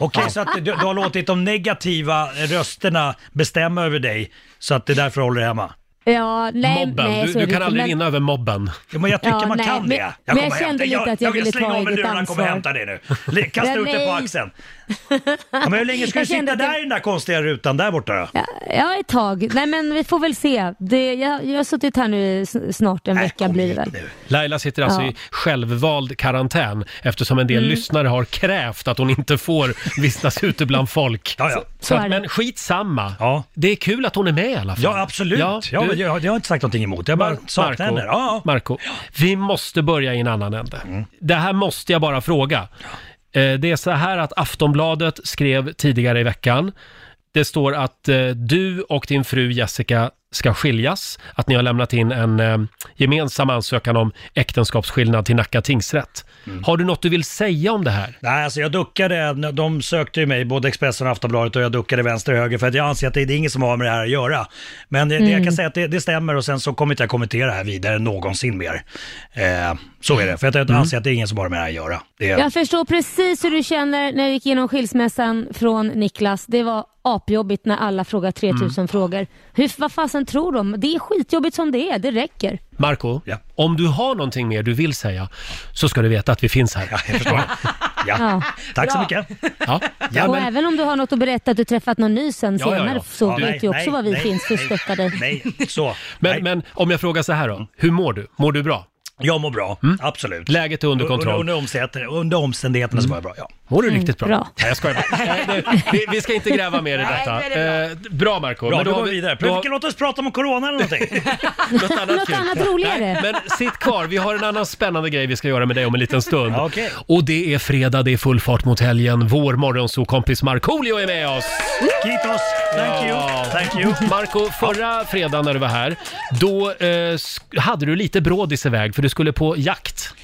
[SPEAKER 8] Okej, så att du, du har låtit de negativa rösterna bestämma över dig, så att det är därför du håller dig hemma.
[SPEAKER 3] Ja, nej,
[SPEAKER 1] mobben,
[SPEAKER 3] nej,
[SPEAKER 1] du,
[SPEAKER 3] så är
[SPEAKER 1] du kan
[SPEAKER 3] det inte.
[SPEAKER 1] aldrig
[SPEAKER 3] Men-
[SPEAKER 1] vinna över mobben.
[SPEAKER 8] Ja, men jag tycker
[SPEAKER 3] Ja,
[SPEAKER 8] man
[SPEAKER 3] nej,
[SPEAKER 8] kan
[SPEAKER 3] men-
[SPEAKER 8] det.
[SPEAKER 3] men jag
[SPEAKER 8] kommer
[SPEAKER 3] kände
[SPEAKER 8] hämta-
[SPEAKER 3] lite att jag ville
[SPEAKER 8] slänga
[SPEAKER 3] ta
[SPEAKER 8] av mig
[SPEAKER 3] eget
[SPEAKER 8] lurarna, Jag kommer
[SPEAKER 3] ansvar.
[SPEAKER 8] hämta dig nu. Le- Kasta
[SPEAKER 3] Nej,
[SPEAKER 8] ut dig på
[SPEAKER 3] nej.
[SPEAKER 8] axeln. Ja, men hur länge
[SPEAKER 3] *laughs*
[SPEAKER 8] ska
[SPEAKER 3] Jag
[SPEAKER 8] du
[SPEAKER 3] kände
[SPEAKER 8] sitta
[SPEAKER 3] att jag-
[SPEAKER 8] där i den där konstiga rutan där borta då?
[SPEAKER 3] Ja, ja, ett tag. Nej, men vi får väl se. Det, jag, jag har suttit här nu i s- snart en
[SPEAKER 8] Nej,
[SPEAKER 3] vecka
[SPEAKER 8] kom
[SPEAKER 3] blir det
[SPEAKER 8] hit
[SPEAKER 3] väl.
[SPEAKER 8] nu.
[SPEAKER 1] Laila sitter alltså
[SPEAKER 3] Ja. Mm.
[SPEAKER 1] i självvald karantän eftersom en del lyssnare har krävt att hon inte får vistas ute bland folk.
[SPEAKER 8] Ja, ja.
[SPEAKER 1] Så
[SPEAKER 3] är
[SPEAKER 1] att,
[SPEAKER 3] det.
[SPEAKER 1] men skitsamma.
[SPEAKER 8] Ja.
[SPEAKER 1] Det är kul att hon är med i alla fall.
[SPEAKER 8] Ja, absolut. Ja,
[SPEAKER 1] du-
[SPEAKER 8] men jag, jag har inte sagt någonting emot. Jag bara
[SPEAKER 1] Mar-
[SPEAKER 8] saknar henne. Ja, ja.
[SPEAKER 1] Marco, vi måste börja i en annan ände. Det här måste jag bara fråga. Eh, Det är så här att Aftonbladet skrev tidigare i veckan. Det står att eh, du och din fru Jessica ska skiljas. Att ni har lämnat in en eh, gemensam ansökan om äktenskapsskillnad till Nacka tingsrätt.
[SPEAKER 8] Mm.
[SPEAKER 1] Har du något du vill säga om det här?
[SPEAKER 8] Nej, alltså jag duckade. De sökte ju mig, både Expressen och Aftonbladet, och jag duckade vänster och höger för att jag anser att det, det är ingen som har med det här att göra. Men det, det jag
[SPEAKER 3] Mm.
[SPEAKER 8] kan säga att det, det stämmer och sen så kommer inte jag kommentera det här vidare någonsin mer. Eh, så är det, för att jag
[SPEAKER 3] Mm.
[SPEAKER 8] anser att det är ingen som har med det här att göra. Det,
[SPEAKER 3] Jag förstår precis hur du känner när du gick igenom skilsmässan från Niklas. Det var apjobbigt när alla frågar
[SPEAKER 8] Mm.
[SPEAKER 3] 3000 frågor. Hur, vad fasen tror de? Det är skitjobbigt som det är, det räcker.
[SPEAKER 1] Marco,
[SPEAKER 8] Ja.
[SPEAKER 1] om du har någonting mer du vill säga så ska du veta att vi finns här.
[SPEAKER 8] Jag förstår. Ja.
[SPEAKER 3] Ja.
[SPEAKER 8] Tack så mycket.
[SPEAKER 1] *laughs* Ja. Ja,
[SPEAKER 3] och
[SPEAKER 1] men-
[SPEAKER 3] även om du har något att berätta att du träffat någon ny sen
[SPEAKER 1] Ja, ja, ja.
[SPEAKER 3] senare så
[SPEAKER 8] Ja,
[SPEAKER 3] vet
[SPEAKER 8] nej,
[SPEAKER 3] du också
[SPEAKER 8] nej,
[SPEAKER 3] var vi
[SPEAKER 8] nej,
[SPEAKER 3] finns för att
[SPEAKER 8] nej,
[SPEAKER 3] stötta dig.
[SPEAKER 8] Nej, så. nej. Mm.
[SPEAKER 1] Men, men om jag frågar så här då, hur mår du? Mår du bra?
[SPEAKER 8] Jag mår bra, absolut.
[SPEAKER 1] Mm. Läget är under kontroll.
[SPEAKER 8] Under, under, omständigheterna- under omständigheterna så mår jag bra, ja.
[SPEAKER 1] Mår du riktigt bra?
[SPEAKER 3] bra.
[SPEAKER 1] Nej, jag skojar bara. Nej, det, vi, vi ska inte gräva mer i detta.
[SPEAKER 2] Nej, det är
[SPEAKER 1] Eh, bra Marco.
[SPEAKER 8] Bra,
[SPEAKER 1] Men
[SPEAKER 8] då
[SPEAKER 1] har
[SPEAKER 8] går vi
[SPEAKER 1] vi-
[SPEAKER 8] vidare.
[SPEAKER 1] då har-
[SPEAKER 8] Låt oss prata om corona eller någonting.
[SPEAKER 1] *laughs* Något annat,
[SPEAKER 3] Något
[SPEAKER 1] kul.
[SPEAKER 3] annat roligare.
[SPEAKER 1] Nej, men sitt kvar, vi har en annan spännande grej vi ska göra med dig om en liten stund.
[SPEAKER 8] Ja, *laughs* okej.
[SPEAKER 1] Och det är fredag, det är full fart mot helgen. Vår morgonsokompis Markoolio är med oss!
[SPEAKER 8] Kitos, thank you. Thank you.
[SPEAKER 1] *laughs* Marco, förra fredagen när du var här, då eh, sk- hade du lite brådis iväg för du skulle på jakt.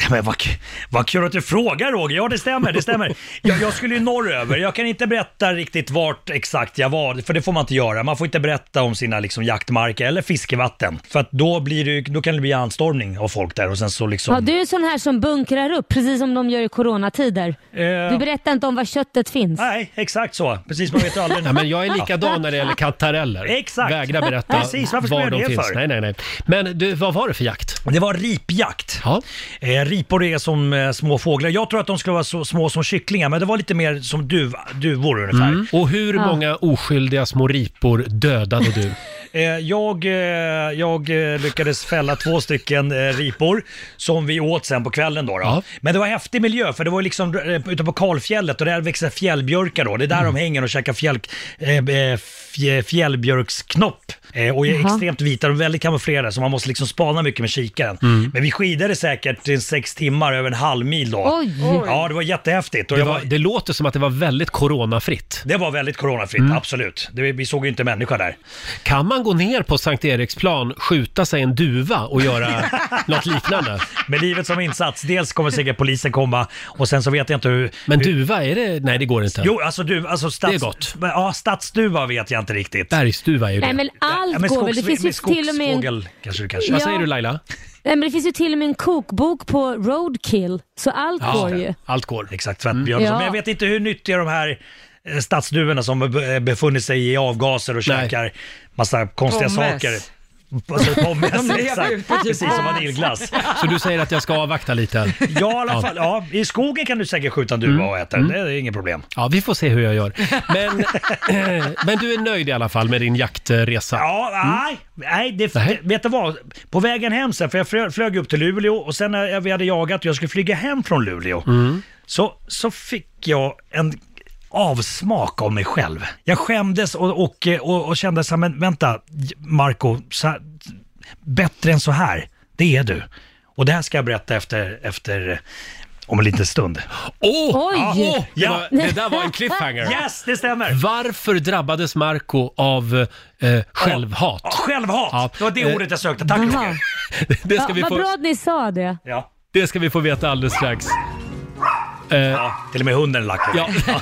[SPEAKER 8] Nej, Men vad, k- vad kul att du frågar Roger. Ja det stämmer, det stämmer. Jag, jag skulle ju norröver. Jag kan inte berätta riktigt vart exakt jag var, för det får man inte göra. Man får inte berätta om sina liksom, jaktmarker eller fiskevatten. För att då, blir det, ju- då kan det bli anstormning av folk där och sen så liksom...
[SPEAKER 3] Ja, du är en sån här som bunkrar upp precis som de gör i coronatider.
[SPEAKER 8] Eh.
[SPEAKER 3] Du berättar inte om var köttet finns.
[SPEAKER 8] Nej, exakt så. Precis, man vet
[SPEAKER 1] *laughs*
[SPEAKER 8] ju aldrig.
[SPEAKER 1] Ja, men jag är likadan när det gäller kantareller.
[SPEAKER 8] Exakt.
[SPEAKER 1] Vägra berätta
[SPEAKER 8] Precis, varför ska
[SPEAKER 1] var
[SPEAKER 8] jag
[SPEAKER 1] de
[SPEAKER 8] göra det
[SPEAKER 1] finns.
[SPEAKER 8] för?
[SPEAKER 1] Nej, nej, nej. Men du, vad var det för jakt?
[SPEAKER 8] Det var ripjakt.
[SPEAKER 1] Ja.
[SPEAKER 8] Eh, ripor är som eh, små fåglar. Jag tror att de skulle vara så små som kycklingar, men det var lite mer som duv, duvor ungefär.
[SPEAKER 1] Mm. Och hur många oskyldiga små ripor dödade *laughs* du?
[SPEAKER 8] Eh, jag eh, jag eh, lyckades fälla två stycken eh, ripor som vi åt sen på kvällen. Då, då.
[SPEAKER 1] Ja.
[SPEAKER 8] Men det var häftig miljö, för det var ju liksom eh, ute på Kalfjället och där växer fjällbjörkar. Då. Det är där
[SPEAKER 1] Mm.
[SPEAKER 8] de hänger och käkar fjäll, eh, eh, fj- fjällbjörksknopp. Eh, och är
[SPEAKER 3] Jaha.
[SPEAKER 8] extremt vita, de är väldigt kamouflerade så man måste liksom spana mycket med kikaren.
[SPEAKER 1] Mm.
[SPEAKER 8] Men vi skidade säkert i sex timmar över en halv mil då.
[SPEAKER 3] Oj. Oj.
[SPEAKER 8] Ja, det var jättehäftigt. Och
[SPEAKER 1] Det,
[SPEAKER 8] jag
[SPEAKER 1] var,
[SPEAKER 8] var,
[SPEAKER 1] det låter som att det var väldigt coronafritt.
[SPEAKER 8] det var väldigt coronafritt,
[SPEAKER 1] Mm.
[SPEAKER 8] absolut. Det, vi såg ju inte människa där.
[SPEAKER 1] Kan man gå ner på Sankt Eriksplan, skjuta sig en duva och
[SPEAKER 3] *laughs*
[SPEAKER 1] göra något liknande?
[SPEAKER 8] Med livet som insats. Dels kommer säkert polisen komma och sen så vet jag inte hur...
[SPEAKER 1] Men
[SPEAKER 8] hur,
[SPEAKER 1] duva, är det... Nej, det går inte.
[SPEAKER 8] Jo, alltså du, alltså stats...
[SPEAKER 1] Det är gott.
[SPEAKER 8] Men, Ja, stadsduva vet jag inte riktigt.
[SPEAKER 1] Bergsduva är ju det.
[SPEAKER 3] Nej men allt
[SPEAKER 8] Ja, men
[SPEAKER 3] går väl. Det
[SPEAKER 8] skogsvi-
[SPEAKER 3] finns ju
[SPEAKER 8] men
[SPEAKER 3] till och med en,
[SPEAKER 8] skogsfågel kanske du kanske.
[SPEAKER 1] Vad
[SPEAKER 3] Ja.
[SPEAKER 1] säger du Laila?
[SPEAKER 3] nej, men det finns ju till och med en kokbok på roadkill. Så allt går ju.
[SPEAKER 1] Allt går.
[SPEAKER 8] Exakt,
[SPEAKER 1] Mm.
[SPEAKER 8] tvättbjörn och så.
[SPEAKER 3] Ja.
[SPEAKER 8] Men jag vet inte hur nyttiga de här eh, stadsduvorna som be- befunnit eh, sig i avgaser och
[SPEAKER 1] Nej.
[SPEAKER 8] käkar massa konstiga
[SPEAKER 2] Pommes.
[SPEAKER 8] saker. alltså,
[SPEAKER 3] *laughs*
[SPEAKER 2] De
[SPEAKER 8] pommes.
[SPEAKER 2] lever
[SPEAKER 8] exakt.
[SPEAKER 2] ut på typ
[SPEAKER 8] Precis som vaniljglass.
[SPEAKER 1] Så du säger att jag ska avvakta lite?
[SPEAKER 3] *laughs*
[SPEAKER 8] Ja, i alla fall. Ja, I skogen kan du säkert skjuta en
[SPEAKER 1] Mm.
[SPEAKER 8] duva och äta den. Det är inget problem.
[SPEAKER 1] Ja, vi får se hur jag gör. Men, eh,
[SPEAKER 3] *laughs*
[SPEAKER 1] men du är nöjd i alla fall med din jaktresa?
[SPEAKER 8] Ja, nej, nej, det,
[SPEAKER 1] Mm. Nej.
[SPEAKER 8] vet du vad? På vägen hem sen, för jag flö- flög upp till Luleå och sen när jag- vi hade jagat och jag skulle flyga hem från Luleå,
[SPEAKER 1] Mm.
[SPEAKER 8] så, så fick jag en avsmak av mig själv. Jag skämdes och, och, och, och kände så här, men vänta, Marco, så här, bättre än så här, det är du. Och det här ska jag berätta efter, efter om en liten stund.
[SPEAKER 1] Åh!
[SPEAKER 3] Oj.
[SPEAKER 1] Ja, åh, det,
[SPEAKER 8] Ja.
[SPEAKER 1] var, det där var en cliffhanger.
[SPEAKER 8] Yes, det stämmer!
[SPEAKER 1] Varför drabbades Marco av eh, självhat?
[SPEAKER 8] Ja, Självhat!
[SPEAKER 1] Ja.
[SPEAKER 8] Det var det
[SPEAKER 1] Eh,
[SPEAKER 8] ordet jag sökte. Tack Roger!
[SPEAKER 1] *laughs* Det ska,
[SPEAKER 3] Ja,
[SPEAKER 1] vi
[SPEAKER 3] vad bra
[SPEAKER 1] få,
[SPEAKER 3] att ni sa det.
[SPEAKER 8] Ja.
[SPEAKER 1] det ska vi få veta alldeles strax. Eh,
[SPEAKER 8] Ja, till och med hunden lackar. *laughs*
[SPEAKER 1] ja.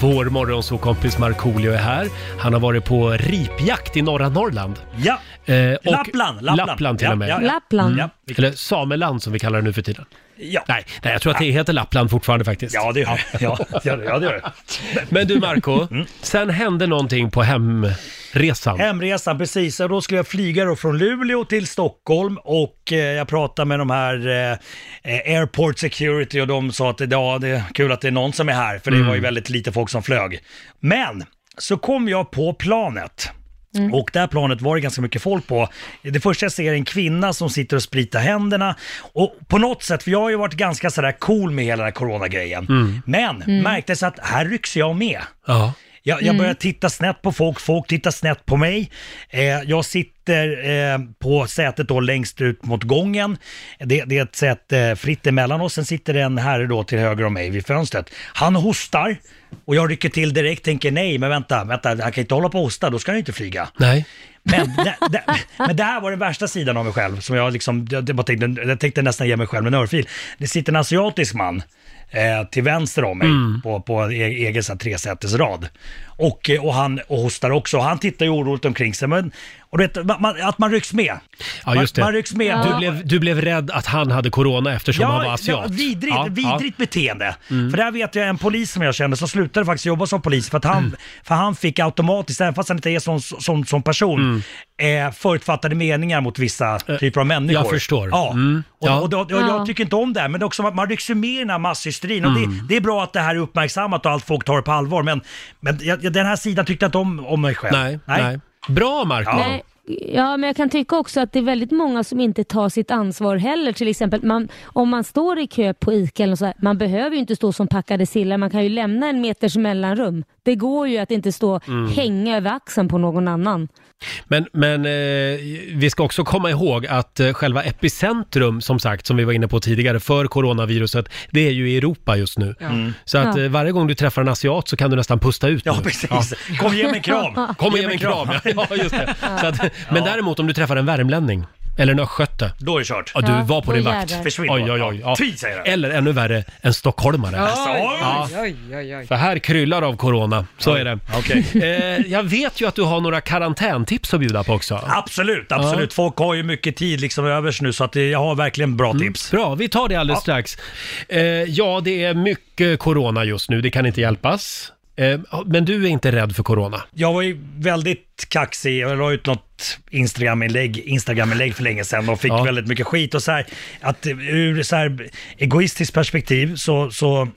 [SPEAKER 1] Vår morgonsåkompis Markoolio är här. Han har varit på ripjakt i norra Norrland.
[SPEAKER 8] Ja.
[SPEAKER 1] Eh, och-
[SPEAKER 8] Lappland, Lappland.
[SPEAKER 1] till
[SPEAKER 8] Ja,
[SPEAKER 1] och med.
[SPEAKER 8] ja,
[SPEAKER 3] Lappland.
[SPEAKER 8] Ja.
[SPEAKER 1] Eller Sameland som vi kallar det nu för tiden.
[SPEAKER 8] Ja.
[SPEAKER 1] Nej, nej jag tror att det heter Lappland fortfarande faktiskt.
[SPEAKER 8] Ja, det gör det. Ja, det gör det. Ja, det, gör det.
[SPEAKER 1] Men du
[SPEAKER 8] *laughs*
[SPEAKER 1] Marco,
[SPEAKER 8] Mm.
[SPEAKER 1] sen hände någonting på hemresan.
[SPEAKER 8] Hemresan, precis. Och Då skulle jag flyga då från Luleå till Stockholm och eh, jag pratade med de här eh, eh, Airport Security och de sa att ja, det är kul att det är någon som är här, för det var ju väldigt lite folk som flög. Men så kom jag på planet. Och det här planet var det ganska mycket folk på. Det första jag ser är en kvinna som sitter och spritar händerna. Och på något sätt, för jag har ju varit ganska sådär cool med hela den här coronagrejen. Men märktes att här rycks jag med.
[SPEAKER 1] Ja.
[SPEAKER 8] Jag, jag börjar titta snett på folk, folk tittar snett på mig. Eh, jag sitter eh, på sätet då längst ut mot gången. Det, det är ett säte eh, fritt emellan oss. Sen sitter det en herre då till höger om mig vid fönstret. Han hostar och jag rycker till direkt, tänker nej, men vänta, vänta, han kan inte hålla på och hosta, då ska han ju inte flyga.
[SPEAKER 1] Nej.
[SPEAKER 8] Men det, det, men det här var den värsta sidan av mig själv. Som jag, liksom, jag, jag, bara tänkte, jag tänkte nästan ge mig själv en örfil. Det sitter en asiatisk man eh, till vänster om mig
[SPEAKER 1] Mm.
[SPEAKER 8] på, på e- egen så här tresätesrad. Och, eh, och han och hostar också. Han tittar ju oroligt omkring sig. Men, och du vet, man, man- att man rycks med.
[SPEAKER 1] Ja, just det.
[SPEAKER 8] Man, man rycks med.
[SPEAKER 1] Du, blev, du blev rädd att han hade corona eftersom han var asiat. Mm.
[SPEAKER 8] Ja, vidrigt, vidrigt beteende. För där vet jag en polis som jag kände som slutade faktiskt jobba som polis för att han,
[SPEAKER 1] Mm.
[SPEAKER 8] för han fick automatiskt, även fast han inte är sån som, som person, eh, förutfattade meningar mot vissa typer av människor.
[SPEAKER 1] Mm. Eh, jag förstår.
[SPEAKER 8] Ja.
[SPEAKER 1] Mm.
[SPEAKER 8] Och,
[SPEAKER 1] Ja.
[SPEAKER 8] och, då- och jag
[SPEAKER 3] Ja.
[SPEAKER 8] tycker inte om det här, men det är också att man rycks ju med i den här masshysterin. Och det,
[SPEAKER 1] Mm.
[SPEAKER 8] det är bra att det här är uppmärksammat och allt folk tar det på allvar, men, men jag, jag- den här sidan tyckte jag inte om, om mig själv.
[SPEAKER 1] Ja. Nej, nej. Bra Marco.
[SPEAKER 8] Ja.
[SPEAKER 3] Nej. Ja, men jag kan tycka också att det är väldigt många som inte tar sitt ansvar heller. Till exempel man, om man står i kö på ICA eller så här, man behöver ju inte stå som packade sillar. Man kan ju lämna en meters mellanrum. Det går ju att inte stå
[SPEAKER 1] Mm.
[SPEAKER 3] hänga över axeln på någon annan.
[SPEAKER 1] Men, men eh, vi ska också komma ihåg att eh, själva epicentrum, som sagt, som vi var inne på tidigare, för coronaviruset, det är ju i Europa just nu. Så att
[SPEAKER 3] Ja.
[SPEAKER 1] eh, varje gång du träffar en asiat så kan du nästan pusta ut
[SPEAKER 8] Mm. Ja,
[SPEAKER 1] nu.
[SPEAKER 8] precis. Kom, ge mig en kram.
[SPEAKER 1] Kom och ge mig en kram. Ja, just det. Så att, men däremot om du träffar en värmlänning eller en östgöte,
[SPEAKER 8] Då är det kört.
[SPEAKER 1] ja, du
[SPEAKER 3] Ja,
[SPEAKER 1] var på
[SPEAKER 3] då
[SPEAKER 1] din vakt.
[SPEAKER 3] jävlar.
[SPEAKER 8] Försvinn
[SPEAKER 1] Oj, oj,
[SPEAKER 8] bara.
[SPEAKER 1] oj. Ja.
[SPEAKER 8] Ty, säger jag.
[SPEAKER 1] Eller ännu värre, en stockholmare.
[SPEAKER 8] Ja.
[SPEAKER 2] Oj, oj, oj, oj.
[SPEAKER 1] För här kryllar av corona, så är det.
[SPEAKER 8] Okej.
[SPEAKER 1] Eh, jag vet ju att du har några karantäntips att bjuda på också.
[SPEAKER 8] Absolut, absolut. Folk har ju mycket tid liksom övers nu så att det- jag har verkligen bra tips.
[SPEAKER 1] Bra, vi tar det alldeles strax. Eh, ja, det är mycket corona just nu, det kan inte hjälpas. Eh, men du är inte rädd för corona?
[SPEAKER 8] Jag var ju väldigt kaxig, jag la ut något Instagram-inlägg Instagram för länge sedan och fick
[SPEAKER 1] Ja.
[SPEAKER 8] väldigt mycket skit och så här, att eh, ur så här egoistiskt perspektiv så, så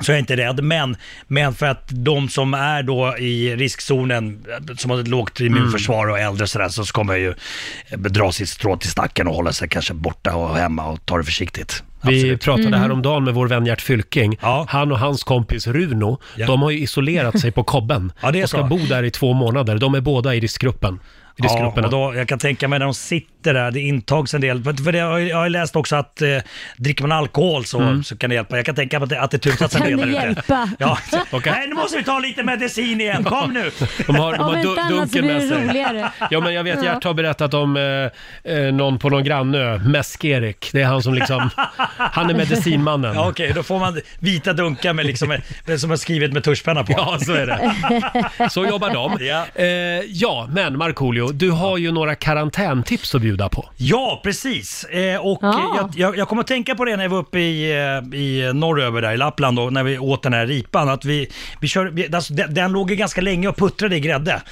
[SPEAKER 8] så jag är inte rädd, men, men för att de som är då i riskzonen, eh, som har ett lågt immunförsvar och äldre och sådär, så kommer jag ju eh, dra sitt strå till stacken och hålla sig kanske borta och hemma och ta det försiktigt.
[SPEAKER 1] Vi pratade häromdagen med vår vän Gert Fylking.
[SPEAKER 8] Mm. Ja.
[SPEAKER 1] Han och hans kompis Runo,
[SPEAKER 8] Ja.
[SPEAKER 1] de har ju isolerat sig på Kobben
[SPEAKER 8] *laughs* Ja, det är
[SPEAKER 1] och ska
[SPEAKER 8] så.
[SPEAKER 1] bo där i två månader. De är båda i riskgruppen. I
[SPEAKER 8] Ja,
[SPEAKER 1] riskgrupperna.
[SPEAKER 8] och då, jag kan tänka mig när de sitter där, det intags en del. För för det, jag har ju- jag har ju läst också att eh, dricker man alkohol så, så kan det hjälpa. Jag kan tänka mig att det, att det tutas en
[SPEAKER 3] Kan
[SPEAKER 8] del där
[SPEAKER 3] det
[SPEAKER 8] ute.
[SPEAKER 3] hjälpa?
[SPEAKER 8] *laughs* Ja.
[SPEAKER 3] *laughs*
[SPEAKER 1] Okej.
[SPEAKER 8] Nej, nu måste vi ta lite medicin igen. Kom nu!
[SPEAKER 1] De har, de
[SPEAKER 3] Om
[SPEAKER 1] har
[SPEAKER 3] inte
[SPEAKER 1] du,
[SPEAKER 3] annat så
[SPEAKER 1] dunken
[SPEAKER 3] blir
[SPEAKER 1] med
[SPEAKER 3] alltså, det
[SPEAKER 1] sig.
[SPEAKER 3] roligare.
[SPEAKER 1] *laughs* Ja, men jag vet,
[SPEAKER 3] Ja.
[SPEAKER 1] Gert har berättat om eh, eh, någon på någon grannö, Mäsk-Erik. Det är han som
[SPEAKER 8] *laughs*
[SPEAKER 1] liksom, han är medicinmannen.
[SPEAKER 8] Ja, Okej, då får man vita dunkar med liksom, med- som jag *laughs* skrivit med tuschpenna på.
[SPEAKER 1] Ja, *laughs* så är det. Så jobbar de.
[SPEAKER 8] Ja.
[SPEAKER 1] Eh, ja men Markoolio, Marco, du har ju några karantäntips att bjuda på.
[SPEAKER 8] Ja, precis. Eh, och
[SPEAKER 3] Ja.
[SPEAKER 8] jag, jag, jag kommer att tänka på det när jag var uppe i, eh, i norröver där i Lappland då, när vi åt den här ripan. Att vi, vi kör, vi, alltså, den, den låg ju ganska länge och puttrade i grädde.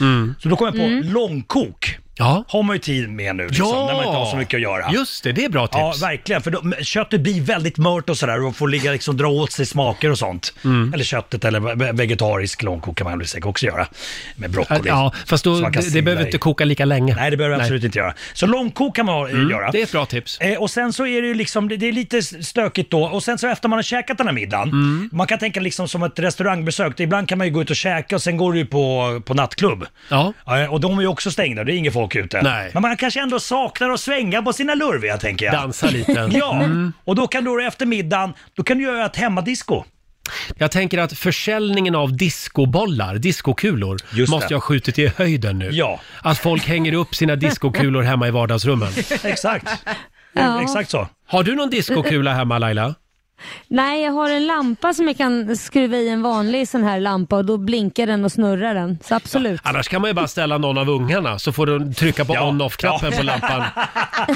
[SPEAKER 8] Så då kom jag på långkok.
[SPEAKER 1] Mm. Ja.
[SPEAKER 8] Har man ju tid med nu liksom, när man inte har så mycket att göra.
[SPEAKER 1] Just det, det är bra
[SPEAKER 8] Ja,
[SPEAKER 1] tips.
[SPEAKER 8] verkligen. För då, men köttet blir väldigt mört och sådär och får ligga liksom dra åt sig smaker och sånt.
[SPEAKER 1] Mm.
[SPEAKER 8] Eller köttet eller ve- vegetarisk långkok kan man väl säkert också göra. Med broccoli.
[SPEAKER 1] ja, fast då,
[SPEAKER 8] som man kan
[SPEAKER 1] det, det
[SPEAKER 8] sila
[SPEAKER 1] behöver
[SPEAKER 8] i.
[SPEAKER 1] inte koka lika länge.
[SPEAKER 8] Nej, det behöver jag absolut inte göra. Så långkok kan man eh, göra.
[SPEAKER 1] Mm. Det är ett bra tips.
[SPEAKER 8] Eh, och sen så är det ju liksom, det, det är lite stökigt då. Och sen så efter man har käkat den här middagen,
[SPEAKER 1] Mm.
[SPEAKER 8] man kan tänka liksom som ett restaurangbesök. Ibland kan man ju gå ut och käka och sen går du ju på, på nattklubb.
[SPEAKER 1] Ja.
[SPEAKER 8] Eh, Och de är ju också stängda, det är inget folk ute.
[SPEAKER 1] Nej.
[SPEAKER 8] Men man kanske ändå saknar att svänga på sina lurviga tänker jag.
[SPEAKER 1] Dansa lite.
[SPEAKER 8] *laughs* Ja,
[SPEAKER 1] Mm.
[SPEAKER 8] och då kan du efter middagen, då kan du göra ett hemmadisco.
[SPEAKER 1] Jag tänker att försäljningen av discobollar, discokulor,
[SPEAKER 8] Just
[SPEAKER 1] måste
[SPEAKER 8] det.
[SPEAKER 1] jag ha skjutit i höjden nu.
[SPEAKER 8] Ja.
[SPEAKER 1] Att folk hänger upp sina discokulor hemma i
[SPEAKER 8] *laughs*
[SPEAKER 1] vardagsrummen.
[SPEAKER 8] Exakt.
[SPEAKER 3] Ja.
[SPEAKER 8] Exakt så.
[SPEAKER 1] Har du någon discokula hemma Laila?
[SPEAKER 3] Nej, jag har en lampa som jag kan skruva i en vanlig sån här lampa och då blinkar den och snurrar den. Så absolut.
[SPEAKER 1] Annars kan man ju bara ställa någon av ungarna så får de trycka på
[SPEAKER 8] Ja.
[SPEAKER 1] on-off-knappen
[SPEAKER 8] Ja.
[SPEAKER 1] på lampan.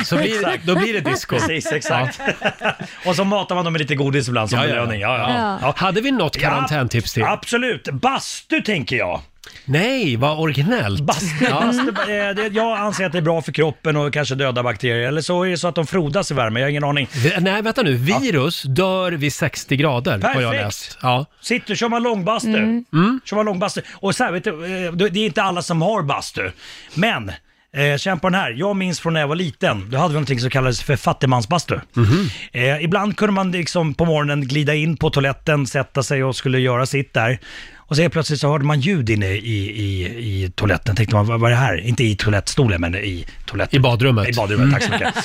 [SPEAKER 1] Så blir, då blir det disco.
[SPEAKER 8] Precis, exakt. *laughs* och så matar man dem med lite godis ibland som
[SPEAKER 1] Ja, ja, ja.
[SPEAKER 8] belöning. Ja, ja.
[SPEAKER 3] Ja.
[SPEAKER 8] Ja.
[SPEAKER 1] Hade vi något karantäntips till?
[SPEAKER 8] Ja, absolut. Bastu tänker jag.
[SPEAKER 1] Nej, vad originellt.
[SPEAKER 8] Bastu, bastu, eh, det, jag anser att det är bra för kroppen och kanske döda bakterier. Eller så är det så att de frodas i värme, jag har ingen aning.
[SPEAKER 1] Vi- Nej, vänta nu. Virus dör vid 60 grader har jag
[SPEAKER 8] Perfekt.
[SPEAKER 1] läst. Ja.
[SPEAKER 8] Sitter, kör man långbastu.
[SPEAKER 1] Mm.
[SPEAKER 8] Kör man långbastu. Och så här, vet du, eh, det är inte alla som har bastu. Men, eh, känn på den här. Jag minns från när jag var liten, då hade vi någonting som kallades för fattigmansbastu.
[SPEAKER 1] Mhm.
[SPEAKER 8] Eh, ibland kunde man liksom på morgonen glida in på toaletten, sätta sig och skulle göra sitt där. Och så helt plötsligt så hörde man ljud inne i, i, i toaletten. Tänkte man, vad vad är det här? Inte i toalettstolen, men i toaletten.
[SPEAKER 1] I badrummet. Mm.
[SPEAKER 8] I badrummet, tack så mycket.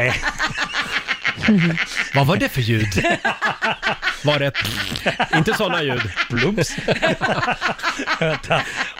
[SPEAKER 8] Eh,
[SPEAKER 1] Vad var det för ljud?
[SPEAKER 8] *laughs*
[SPEAKER 1] Var det ett... Inte sådana ljud.
[SPEAKER 8] *laughs* Plumps.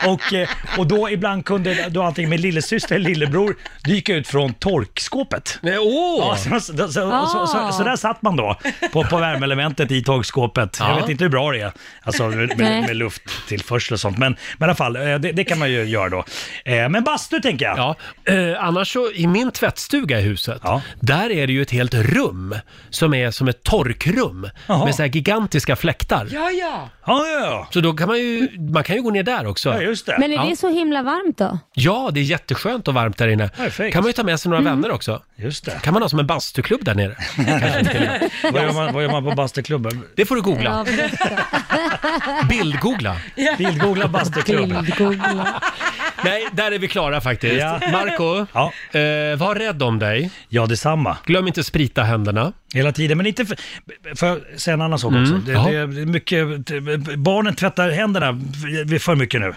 [SPEAKER 8] och, eh, och då ibland kunde då antingen min lillasyster eller lillebror dyka ut från torkskåpet.
[SPEAKER 1] Nej, åh!
[SPEAKER 8] Ja, så, så, så, så, så, så där
[SPEAKER 3] Ah.
[SPEAKER 8] satt man då på, på värmeelementet i torkskåpet. Jag
[SPEAKER 1] Ja.
[SPEAKER 8] vet inte hur bra det är, alltså med, med,
[SPEAKER 3] Nej.
[SPEAKER 8] med lufttillförsel och sånt. Men, men i alla fall, eh, det, det kan man ju göra då. Eh, Men bastu tänker jag.
[SPEAKER 1] Ja, eh, annars så i min tvättstuga i huset,
[SPEAKER 8] Ja.
[SPEAKER 1] där är det ju ett helt rum som är som ett torkrum
[SPEAKER 8] Jaha.
[SPEAKER 1] med så här gigantiska fläktar.
[SPEAKER 2] Ja, ja.
[SPEAKER 8] Ja, ja, ja.
[SPEAKER 1] Så då kan man ju, man kan ju gå ner där också.
[SPEAKER 8] ja just det.
[SPEAKER 3] Men är
[SPEAKER 1] Ja.
[SPEAKER 3] det så himla varmt då?
[SPEAKER 1] Ja, det är jätteskönt och varmt där inne.
[SPEAKER 8] Perfekt. Mm.
[SPEAKER 1] Kan man ju ta med sig några vänner också.
[SPEAKER 8] Just det.
[SPEAKER 1] Kan man ha som en bastuklubb där nere?
[SPEAKER 8] Vad gör man, vad gör man på bastuklubben?
[SPEAKER 1] Det får du
[SPEAKER 3] Ja,
[SPEAKER 1] googla. *laughs*
[SPEAKER 3] berätta.
[SPEAKER 1] Bildgoogla.
[SPEAKER 8] Bildgoogla bastuklubb.
[SPEAKER 3] Bildgoogla.
[SPEAKER 1] Nej, där är vi klara faktiskt.
[SPEAKER 8] Ja.
[SPEAKER 1] Marco,
[SPEAKER 8] Ja.
[SPEAKER 1] eh, var rädd om dig.
[SPEAKER 8] Ja, detsamma.
[SPEAKER 1] Glöm inte sprita händerna.
[SPEAKER 8] Hela tiden, men inte för... Får jag säga en
[SPEAKER 1] Mm.
[SPEAKER 8] annan sak också? Det,
[SPEAKER 1] ja.
[SPEAKER 8] det är mycket, det- barnen tvättar händerna för- för mycket nu.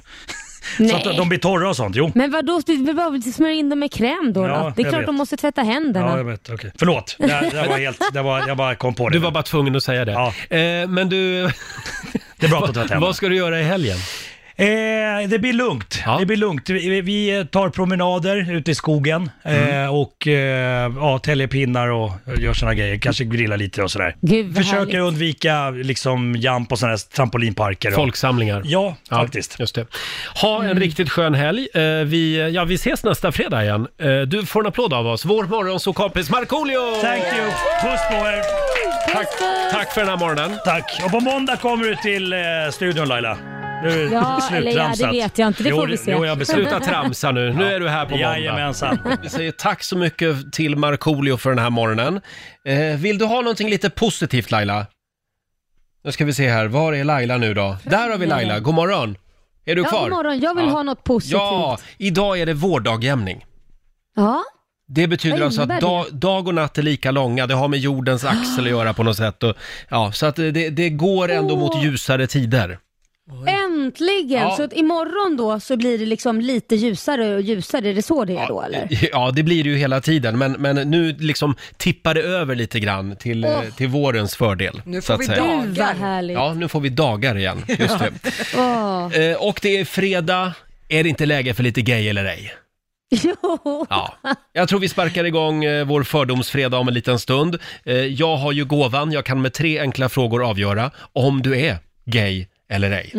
[SPEAKER 8] *laughs* Så att
[SPEAKER 3] Nej.
[SPEAKER 8] de blir torra och sånt. Jo.
[SPEAKER 3] Men vadå, du vill bara smörja in dem med kräm då?
[SPEAKER 8] Ja,
[SPEAKER 3] då? Det är
[SPEAKER 8] jag
[SPEAKER 3] klart
[SPEAKER 8] vet.
[SPEAKER 3] de måste tvätta
[SPEAKER 8] Ja,
[SPEAKER 3] händerna.
[SPEAKER 8] jag vet. Okej. Förlåt, det, här- det här var helt, det var, jag bara kom på det.
[SPEAKER 1] Du var bara tvungen att säga det.
[SPEAKER 8] Ja.
[SPEAKER 1] Eh, men du,
[SPEAKER 8] Det är bra att du tvättar
[SPEAKER 1] *laughs*
[SPEAKER 8] händerna.
[SPEAKER 1] vad ska du göra i helgen?
[SPEAKER 8] Eh, det blir lugnt.
[SPEAKER 1] Ja.
[SPEAKER 8] Det blir lugnt. Vi, vi tar promenader ute i skogen
[SPEAKER 1] Mm.
[SPEAKER 8] eh, och eh, ja, täljer pinnar och gör såna grejer. Kanske grillar lite och sådär.
[SPEAKER 3] Gud, vad
[SPEAKER 8] Försöker
[SPEAKER 3] härligt.
[SPEAKER 8] undvika liksom jump och sådana här trampolinparker. och-
[SPEAKER 1] Folksamlingar.
[SPEAKER 8] Ja, faktiskt. Mm.
[SPEAKER 1] Just det. Ha en riktigt skön helg. Eh, vi, ja, vi ses nästa fredag igen. Eh, du får en applåd av oss. Vår morgonsåkompis Markoolio!
[SPEAKER 8] Thank you! Puss på er!
[SPEAKER 1] Tack, tack för den här morgonen.
[SPEAKER 8] Tack! Och på måndag kommer du till eh, studion Laila. Nu är
[SPEAKER 3] Ja,
[SPEAKER 8] det
[SPEAKER 3] eller ja,
[SPEAKER 8] slutramsat.
[SPEAKER 3] det vet jag inte. Det
[SPEAKER 8] jo,
[SPEAKER 3] får vi se.
[SPEAKER 8] Jo, jag
[SPEAKER 1] Sluta
[SPEAKER 8] beslutar.
[SPEAKER 1] tramsa nu. Nu är du
[SPEAKER 8] *laughs*
[SPEAKER 1] här på måndag.
[SPEAKER 8] Jajamensan.
[SPEAKER 1] Vi säger tack så mycket till Markoolio för den här morgonen. Eh, vill du ha någonting lite positivt Laila? Nu ska vi se här, var är Laila nu då? Där har vi Laila, god morgon! Är du
[SPEAKER 3] Ja,
[SPEAKER 1] kvar?
[SPEAKER 3] god morgon. Jag vill
[SPEAKER 1] Ja.
[SPEAKER 3] ha något positivt.
[SPEAKER 1] Ja, idag är det vårdagjämning.
[SPEAKER 3] Ja.
[SPEAKER 1] Det betyder
[SPEAKER 3] Vad
[SPEAKER 1] alltså att
[SPEAKER 3] innebär Ah.
[SPEAKER 1] dag, dag och natt är lika långa, det har med jordens axel att göra på något sätt. Och, ja, så att det, det går ändå mot
[SPEAKER 3] Åh.
[SPEAKER 1] ljusare tider.
[SPEAKER 3] Äntligen!
[SPEAKER 1] Ja.
[SPEAKER 3] Så att imorgon då så blir det liksom lite ljusare och ljusare. Är det så det är då eller?
[SPEAKER 1] Ja, det blir det ju hela tiden, men, men nu liksom tippar det över lite grann till, eh, till vårens fördel.
[SPEAKER 2] Nu
[SPEAKER 1] så
[SPEAKER 2] får
[SPEAKER 1] att
[SPEAKER 2] vi
[SPEAKER 1] säga.
[SPEAKER 2] dagar.
[SPEAKER 3] Gud vad härligt.
[SPEAKER 1] Ja, nu får vi dagar
[SPEAKER 3] *laughs*
[SPEAKER 1] igen. Just det.
[SPEAKER 3] Åh.
[SPEAKER 1] Eh, och det är fredag. Är det inte läge för lite gay eller ej?
[SPEAKER 3] *laughs* Jo.
[SPEAKER 1] Ja. Jag tror vi sparkar igång eh, vår fördomsfredag om en liten stund. Eh, jag har ju gåvan,
[SPEAKER 3] Mm.
[SPEAKER 1] jag kan med tre enkla frågor avgöra om du är gay eller ej.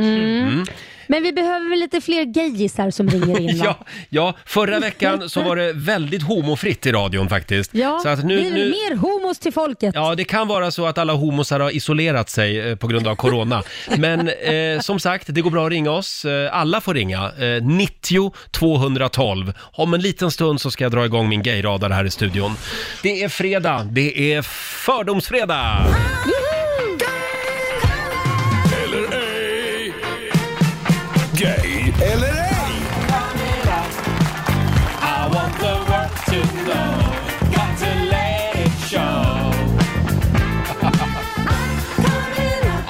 [SPEAKER 3] Men vi behöver väl lite fler gayisar som
[SPEAKER 1] *laughs*
[SPEAKER 3] ringer in
[SPEAKER 1] *laughs*
[SPEAKER 3] va?
[SPEAKER 1] Ja, ja, förra veckan så var det väldigt homofritt i radion faktiskt.
[SPEAKER 3] Ja,
[SPEAKER 1] så att nu,
[SPEAKER 3] vi vill
[SPEAKER 1] nu,
[SPEAKER 3] mer homos till folket.
[SPEAKER 1] ja, det kan vara så att alla homosar har isolerat sig eh, på grund av corona. Men eh, som sagt, det går bra att ringa oss. Eh, Alla får ringa. Eh, 90 212. Om en liten stund så ska jag dra igång min gayradare här i studion. Det är fredag, det är fördomsfredag!
[SPEAKER 4] Eller ej. Gay eller ej.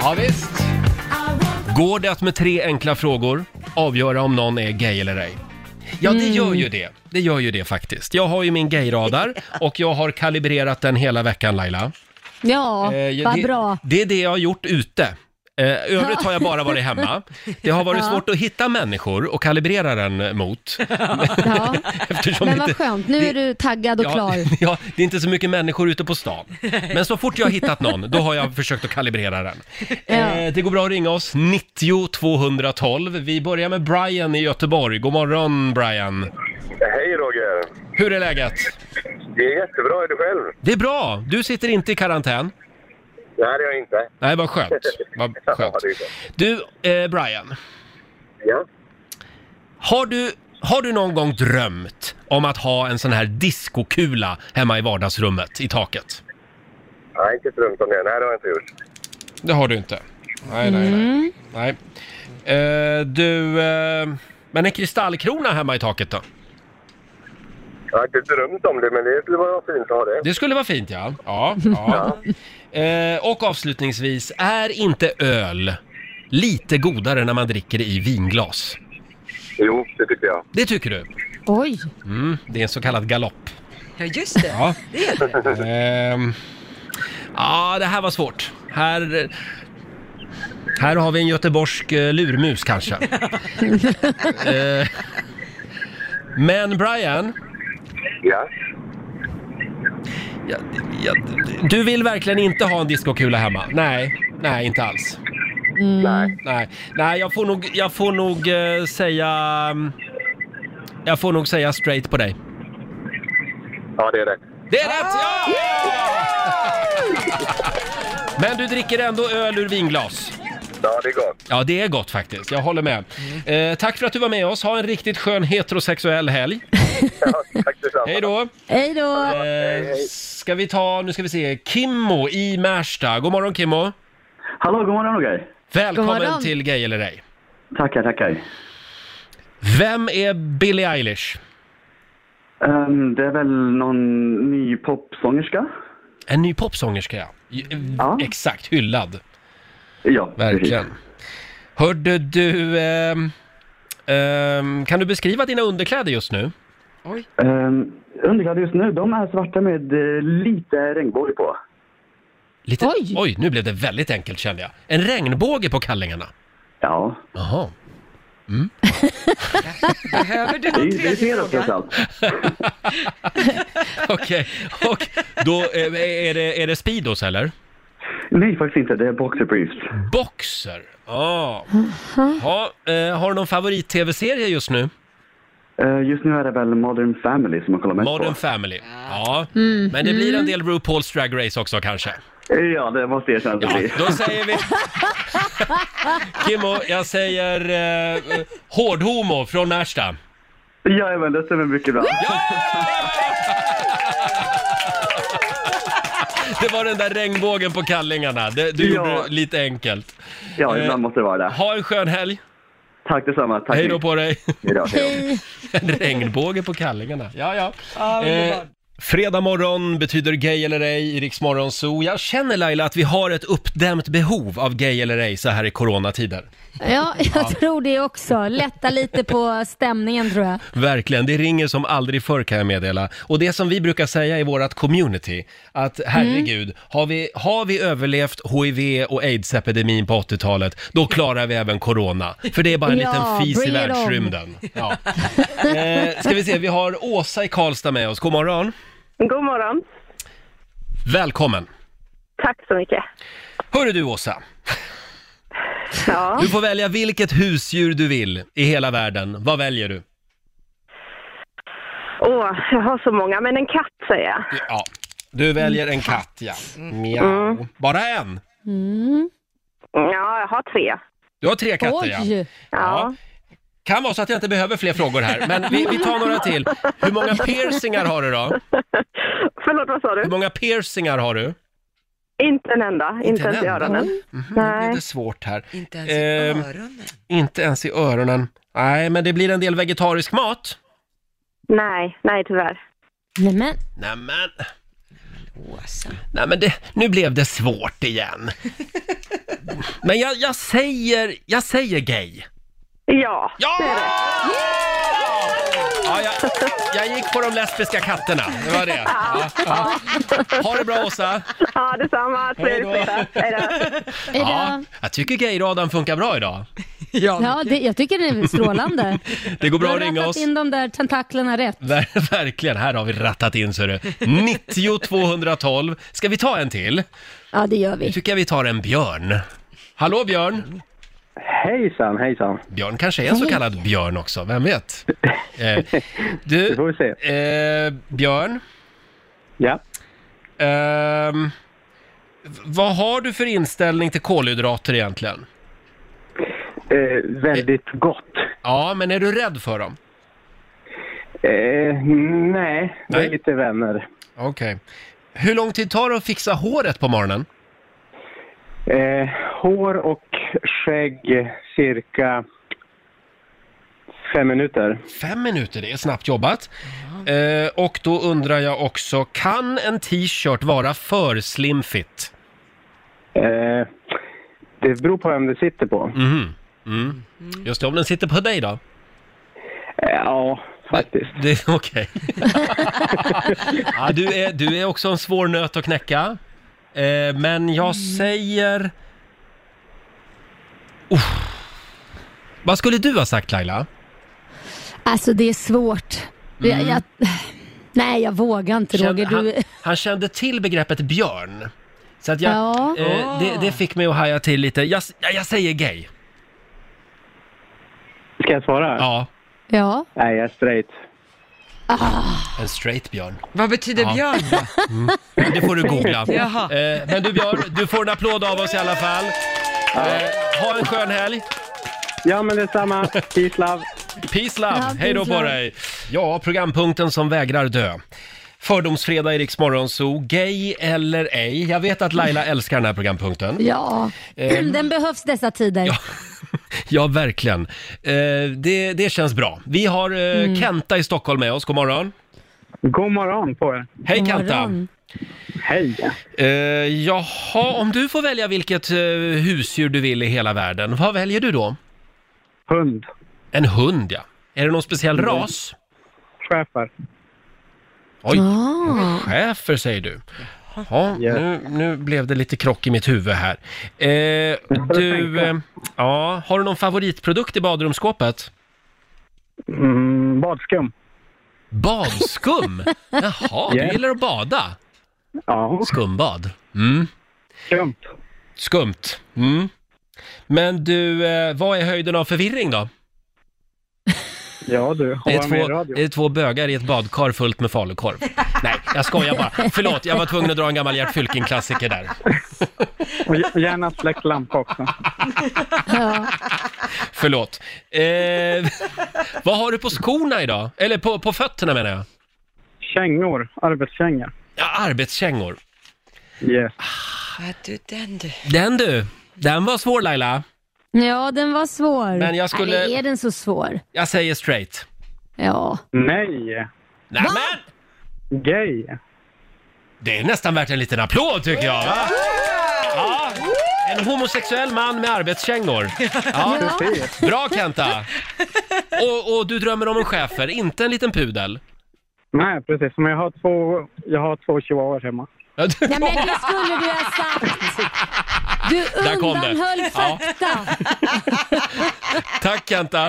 [SPEAKER 1] Ja, visst. Går det att med tre enkla frågor avgöra om någon är gay eller ej? Ja, det gör ju det. Det gör ju det faktiskt. Jag har ju min gayradar och jag har kalibrerat den hela veckan, Laila.
[SPEAKER 3] Ja,
[SPEAKER 1] Eh,
[SPEAKER 3] vad
[SPEAKER 1] det,
[SPEAKER 3] bra.
[SPEAKER 1] Det är det jag har gjort ute. Eh, övrigt har jag bara varit hemma. Det har varit
[SPEAKER 3] Ja.
[SPEAKER 1] svårt att hitta människor och kalibrera den mot.
[SPEAKER 3] Ja.
[SPEAKER 1] *laughs* Eftersom
[SPEAKER 3] Men
[SPEAKER 1] det
[SPEAKER 3] vad
[SPEAKER 1] inte-
[SPEAKER 3] skönt, nu är du taggad
[SPEAKER 1] *laughs*
[SPEAKER 3] och klar.
[SPEAKER 1] ja, det är inte så mycket människor ute på stan. Men så fort jag har hittat någon, då har jag försökt att kalibrera den.
[SPEAKER 3] Ja.
[SPEAKER 1] Eh, det går bra att ringa oss, 90 212. Vi börjar med Brian i Göteborg. God morgon Brian!
[SPEAKER 7] Hej Roger!
[SPEAKER 1] Hur är läget?
[SPEAKER 7] Det är jättebra, är du själv?
[SPEAKER 1] Det är bra! Du sitter inte i karantän.
[SPEAKER 7] Nej, det är jag inte.
[SPEAKER 1] Nej, vad skönt. Vad skönt.
[SPEAKER 7] Ja, det är bra.
[SPEAKER 1] Du, eh, Brian.
[SPEAKER 7] Ja.
[SPEAKER 1] Har du, har du någon gång drömt om att ha en sån här diskokula hemma i vardagsrummet i taket?
[SPEAKER 7] Nej, inte drömt om det. Nej, det har jag inte gjort.
[SPEAKER 1] Det har du inte. Nej, nej, nej. nej. Eh, du, eh, men en kristallkrona hemma i taket då?
[SPEAKER 7] Jag har inte drömt om det, men det skulle vara fint att ha det.
[SPEAKER 1] Det skulle vara fint ja. Ja, ja. Eh, och avslutningsvis, är inte öl lite godare när man dricker det i vinglas?
[SPEAKER 7] Jo, det tycker jag.
[SPEAKER 1] Det tycker du?
[SPEAKER 3] Oj,
[SPEAKER 1] Mm, det är en så kallad galopp.
[SPEAKER 2] Ja, just det.
[SPEAKER 1] Ja.
[SPEAKER 2] Det är det.
[SPEAKER 1] Ehm, Ja, det här var svårt. Här, här har vi en göteborgsk eh, lurmus kanske. Eh, Men Brian,
[SPEAKER 7] Ja.
[SPEAKER 1] ja, ja, du vill verkligen inte ha en discokula hemma? Nej, nej inte alls.
[SPEAKER 7] Nej.
[SPEAKER 1] Nej, nej jag får nog, jag får nog eh, säga... mm, Jag får nog säga straight på dig.
[SPEAKER 7] Ja, det är det.
[SPEAKER 1] Det är rätt! Ja! Men du dricker ändå öl ur vinglas?
[SPEAKER 7] Ja, det är gott.
[SPEAKER 1] Ja, det är gott faktiskt. Jag håller med. Eh, tack för att du var med oss. Ha en riktigt skön heterosexuell helg.
[SPEAKER 7] *laughs* Ja, tack detsamma.
[SPEAKER 1] Hej då!
[SPEAKER 3] hej då.
[SPEAKER 1] Eh, ska vi ta, nu ska vi se, Kimmo i Märsta. God morgon Kimmo!
[SPEAKER 9] Hallå, god morgon Roger.
[SPEAKER 1] Välkommen
[SPEAKER 3] God morgon.
[SPEAKER 1] till Gay eller ej.
[SPEAKER 9] Tackar, tackar.
[SPEAKER 1] Vem är Billie Eilish?
[SPEAKER 9] Ehm, det är väl någon ny popsångerska?
[SPEAKER 1] En ny popsångerska ja. J-
[SPEAKER 9] Ja.
[SPEAKER 1] Exakt, hyllad.
[SPEAKER 9] Ja,
[SPEAKER 1] Verkligen.
[SPEAKER 9] precis.
[SPEAKER 1] Hörde du, ehm, ehm, kan du beskriva dina underkläder just nu?
[SPEAKER 9] Ehm, underkläder just nu, de är svarta med eh, lite regnbåge på.
[SPEAKER 1] Lite,
[SPEAKER 3] Oj.
[SPEAKER 1] oj, nu blev det väldigt enkelt kände jag. En regnbåge på kallingarna.
[SPEAKER 9] Ja,
[SPEAKER 1] Jaha.
[SPEAKER 2] Behöver du
[SPEAKER 9] det är
[SPEAKER 2] någon
[SPEAKER 9] ju det
[SPEAKER 2] tredje
[SPEAKER 9] är fredag trots
[SPEAKER 2] fråga?
[SPEAKER 1] *laughs*
[SPEAKER 9] allt.
[SPEAKER 1] Okej, och då eh, är det, är det Speedos eller?
[SPEAKER 9] Nej, faktiskt inte. Det är boxer briefs.
[SPEAKER 1] Boxer? Ja. Ja, eh, har du någon favorit-tv-serie just nu?
[SPEAKER 9] Ehm, just nu är det väl Modern Family som jag kollar mest
[SPEAKER 1] Modern
[SPEAKER 9] på.
[SPEAKER 1] Family. Ja, men det blir en del RuPaul's Drag Race också kanske.
[SPEAKER 9] ja, det måste jag erkänna att det
[SPEAKER 1] Ja,
[SPEAKER 9] blir.
[SPEAKER 1] då säger vi... Kimmo, jag säger eh, eh, Hårdhomo från Märsta.
[SPEAKER 9] Jajamän, det stämmer mycket bra.
[SPEAKER 1] Det var den där regnbågen på kallingarna. Det, du
[SPEAKER 9] Ja.
[SPEAKER 1] gjorde det lite enkelt.
[SPEAKER 9] Ja, ibland måste det vara det.
[SPEAKER 1] Ha en skön helg.
[SPEAKER 9] Tack detsamma. Tack.
[SPEAKER 1] Hej då på dig.
[SPEAKER 9] Hej då, hej då.
[SPEAKER 1] En regnbåge på kallingarna. Ja, ja. eh, fredag morgon betyder gay eller ej i Rix Morgon Zoo. Jag känner Laila att vi har ett uppdämt behov av gay eller ej så här i coronatider.
[SPEAKER 3] Ja,
[SPEAKER 1] *laughs*
[SPEAKER 3] jag tror det också. Lätta lite på stämningen tror jag.
[SPEAKER 1] Verkligen, det ringer som aldrig förr kan jag meddela. Och det som vi brukar säga i vårt community, att herregud,
[SPEAKER 3] Mm.
[SPEAKER 1] har, vi, har vi överlevt hiv och aids-epidemin på 80-talet, då klarar vi även corona. För det är bara en
[SPEAKER 3] Ja,
[SPEAKER 1] liten fis i
[SPEAKER 3] bring it on.
[SPEAKER 1] världsrymden. Ja. Eh, ska vi se, vi har Åsa i Karlstad med oss. God morgon.
[SPEAKER 10] God morgon.
[SPEAKER 1] Välkommen!
[SPEAKER 10] Tack så mycket.
[SPEAKER 1] Hörru du Åsa, Du får välja vilket husdjur du vill i hela världen. Vad väljer du?
[SPEAKER 10] Åh, jag har så många, men en katt säger jag.
[SPEAKER 1] Ja, du väljer en katt, ja. Mjau. Bara en?
[SPEAKER 10] Mm. Ja, jag har tre.
[SPEAKER 1] Du har tre katter, ja.
[SPEAKER 3] Oj.
[SPEAKER 1] ja. Kan vara så att jag inte behöver fler frågor här, men vi, vi tar några till. Hur många piercingar har du då?
[SPEAKER 10] *laughs* Förlåt, vad sa du?
[SPEAKER 1] Hur många piercingar har du?
[SPEAKER 10] Inte en enda, inte,
[SPEAKER 1] en
[SPEAKER 10] ens i
[SPEAKER 1] enda? Mhm,
[SPEAKER 10] öronen.
[SPEAKER 1] Det
[SPEAKER 10] Nej.
[SPEAKER 1] är svårt här.
[SPEAKER 2] Inte ens i
[SPEAKER 1] Ehm,
[SPEAKER 2] öronen.
[SPEAKER 1] Inte ens i öronen. Nej, men det blir en del vegetarisk mat.
[SPEAKER 10] nej, nej tyvärr.
[SPEAKER 3] Nej, men.
[SPEAKER 1] Nämen,
[SPEAKER 2] Åsa.
[SPEAKER 1] nej men det, nu blev det svårt igen. Men jag, jag säger, jag säger gay.
[SPEAKER 10] Ja,
[SPEAKER 1] Ja! ja jag, jag gick på de lesbiska katterna, det var det. Ja, ja. Ha det bra Åsa!
[SPEAKER 10] ja detsamma. Trevlig
[SPEAKER 1] Hej då.
[SPEAKER 10] fredag. Hej då.
[SPEAKER 3] Är
[SPEAKER 1] Ja,
[SPEAKER 3] det...
[SPEAKER 1] jag tycker gayradarn funkar bra idag.
[SPEAKER 2] Ja,
[SPEAKER 3] Ja, det, jag tycker det är strålande.
[SPEAKER 1] *laughs* Det går
[SPEAKER 3] Du
[SPEAKER 1] bra
[SPEAKER 3] har
[SPEAKER 1] att ringa
[SPEAKER 3] rättat
[SPEAKER 1] oss.
[SPEAKER 3] in de där tentaklerna rätt.
[SPEAKER 1] Ver- Verkligen, här har vi rattat in så du. 90 212. Ska vi ta en till?
[SPEAKER 3] Ja, det gör
[SPEAKER 1] Nu
[SPEAKER 3] vi.
[SPEAKER 1] tycker jag vi tar en björn. Hallå björn!
[SPEAKER 9] Hejsan, hejsan.
[SPEAKER 1] Björn kanske är en så kallad björn också, vem vet? Eh, du,
[SPEAKER 9] Det får *laughs* vi se.
[SPEAKER 1] eh, Björn,
[SPEAKER 9] Ja.
[SPEAKER 1] ehm, v- vad har du för inställning till kolhydrater egentligen?
[SPEAKER 9] Eh, väldigt gott.
[SPEAKER 1] Ja, men är du rädd för dem?
[SPEAKER 9] Eh, nej, det
[SPEAKER 1] Nej.
[SPEAKER 9] är lite vänner.
[SPEAKER 1] Okej. Hur lång tid tar det att fixa håret på morgonen?
[SPEAKER 9] Eh, hår och skägg cirka fem minuter.
[SPEAKER 1] Fem minuter, det är snabbt jobbat. Eh, och då undrar jag också, kan en t-shirt vara för slim fit?
[SPEAKER 9] Eh, det beror på vem du sitter på.
[SPEAKER 1] Mm.
[SPEAKER 9] Mm.
[SPEAKER 1] Just det, om den sitter på dig då?
[SPEAKER 9] Eh, ja, faktiskt.
[SPEAKER 1] Det är okej. ja, du, är, du är också en svår nöt att knäcka. Eh, men jag
[SPEAKER 3] Mm.
[SPEAKER 1] säger... Uff. Vad skulle du ha sagt Laila?
[SPEAKER 3] Alltså det är svårt. Jag, jag, nej, jag vågar inte Roger.
[SPEAKER 1] Kände-
[SPEAKER 3] Du,
[SPEAKER 1] Mm. han, han kände till begreppet björn. Så att jag,
[SPEAKER 3] Ja.
[SPEAKER 1] eh, det, det fick mig att haja till lite. Jag, s- ja, jag säger gay.
[SPEAKER 9] Ska jag svara?
[SPEAKER 1] Ja,
[SPEAKER 3] ja.
[SPEAKER 9] Nej, jag är straight.
[SPEAKER 1] en straight björn.
[SPEAKER 2] Vad betyder
[SPEAKER 1] Ja.
[SPEAKER 2] björn
[SPEAKER 1] *laughs*
[SPEAKER 2] då?
[SPEAKER 1] Det får du googla.
[SPEAKER 2] Jaha.
[SPEAKER 1] Eh, men du Björn, du får en applåd av oss i alla fall. Eh, ha en skön helg.
[SPEAKER 9] Ja,
[SPEAKER 1] *laughs*
[SPEAKER 9] men detsamma. Peace love.
[SPEAKER 1] Peace love,
[SPEAKER 3] Ja,
[SPEAKER 1] hej då
[SPEAKER 3] peace
[SPEAKER 1] på
[SPEAKER 3] love.
[SPEAKER 1] dig! Ja, programpunkten som vägrar dö. Fördomsfredag i Rix Morgonzoo, gay eller ej. Jag vet att
[SPEAKER 3] *laughs*
[SPEAKER 1] Laila älskar den här programpunkten.
[SPEAKER 3] ja.
[SPEAKER 1] Ehm.
[SPEAKER 3] Den behövs dessa tider.
[SPEAKER 1] Ja, verkligen. Eh, det, det känns bra. Vi har eh,
[SPEAKER 3] Mm.
[SPEAKER 1] Kenta i Stockholm med oss, god morgon.
[SPEAKER 9] God morgon på er.
[SPEAKER 1] Hej
[SPEAKER 3] God
[SPEAKER 1] Kenta!
[SPEAKER 3] morgon.
[SPEAKER 9] Hej.
[SPEAKER 1] Eh, jaha, om du får välja vilket eh, husdjur du vill i hela världen, vad väljer du då?
[SPEAKER 9] Hund.
[SPEAKER 1] En hund ja. Är det någon speciell
[SPEAKER 3] Mm.
[SPEAKER 1] ras?
[SPEAKER 9] Schäfer.
[SPEAKER 1] Oj,
[SPEAKER 3] Ah.
[SPEAKER 1] schäfer säger du. Ja,
[SPEAKER 9] Ja.
[SPEAKER 1] nu, nu blev det lite krock i mitt huvud här. Eh, du, eh, ja, har du någon favoritprodukt i badrumsskåpet?
[SPEAKER 9] Mm, badskum. *laughs*
[SPEAKER 1] Badskum? Jaha,
[SPEAKER 9] Ja.
[SPEAKER 1] du gillar att bada?
[SPEAKER 9] Ja,
[SPEAKER 1] Skumbad? Mm,
[SPEAKER 9] skumt.
[SPEAKER 1] skumt. Mm. Men du, eh, vad är höjden av förvirring då?
[SPEAKER 9] Ja du,
[SPEAKER 1] Det är,
[SPEAKER 9] har med i
[SPEAKER 1] två,
[SPEAKER 9] radio.
[SPEAKER 1] det är två bögar i ett badkar fullt med falukorv. Nej, jag skojar bara. Förlåt, jag var tvungen att dra en gammal Gert Fylking-klassiker där.
[SPEAKER 9] Och gär- gärna släckt lampa också.
[SPEAKER 3] Ja.
[SPEAKER 1] Förlåt. Eh, *laughs* vad har du på skorna idag? Eller på, på fötterna menar jag.
[SPEAKER 9] Kängor, arbetskängor.
[SPEAKER 1] Ja, arbetskängor.
[SPEAKER 9] Yes.
[SPEAKER 2] Ja, du, den du.
[SPEAKER 1] Den du, den var svår Laila.
[SPEAKER 3] ja, den var svår.
[SPEAKER 1] Men jag skulle-
[SPEAKER 3] Eller är den så svår?
[SPEAKER 1] Jag säger straight.
[SPEAKER 3] Ja.
[SPEAKER 9] Nej,
[SPEAKER 1] Nej, men
[SPEAKER 9] gay.
[SPEAKER 1] Det är nästan värt en liten applåd tycker jag. Va? Ja, en homosexuell man med arbetskängor. Ja.
[SPEAKER 9] Precis.
[SPEAKER 1] Bra Kenta! Och, och du drömmer om en schäfer, inte en liten pudel.
[SPEAKER 9] Nej, precis. Men jag har två, jag har två
[SPEAKER 1] *laughs*
[SPEAKER 9] chihuahuor hemma.
[SPEAKER 1] Ja, du-
[SPEAKER 3] Nej, men det skulle
[SPEAKER 1] *laughs*
[SPEAKER 3] du ha sagt. Du
[SPEAKER 1] Där kom den.
[SPEAKER 3] undanhöll
[SPEAKER 1] Ja.
[SPEAKER 3] fakta.
[SPEAKER 1] Tack Kenta!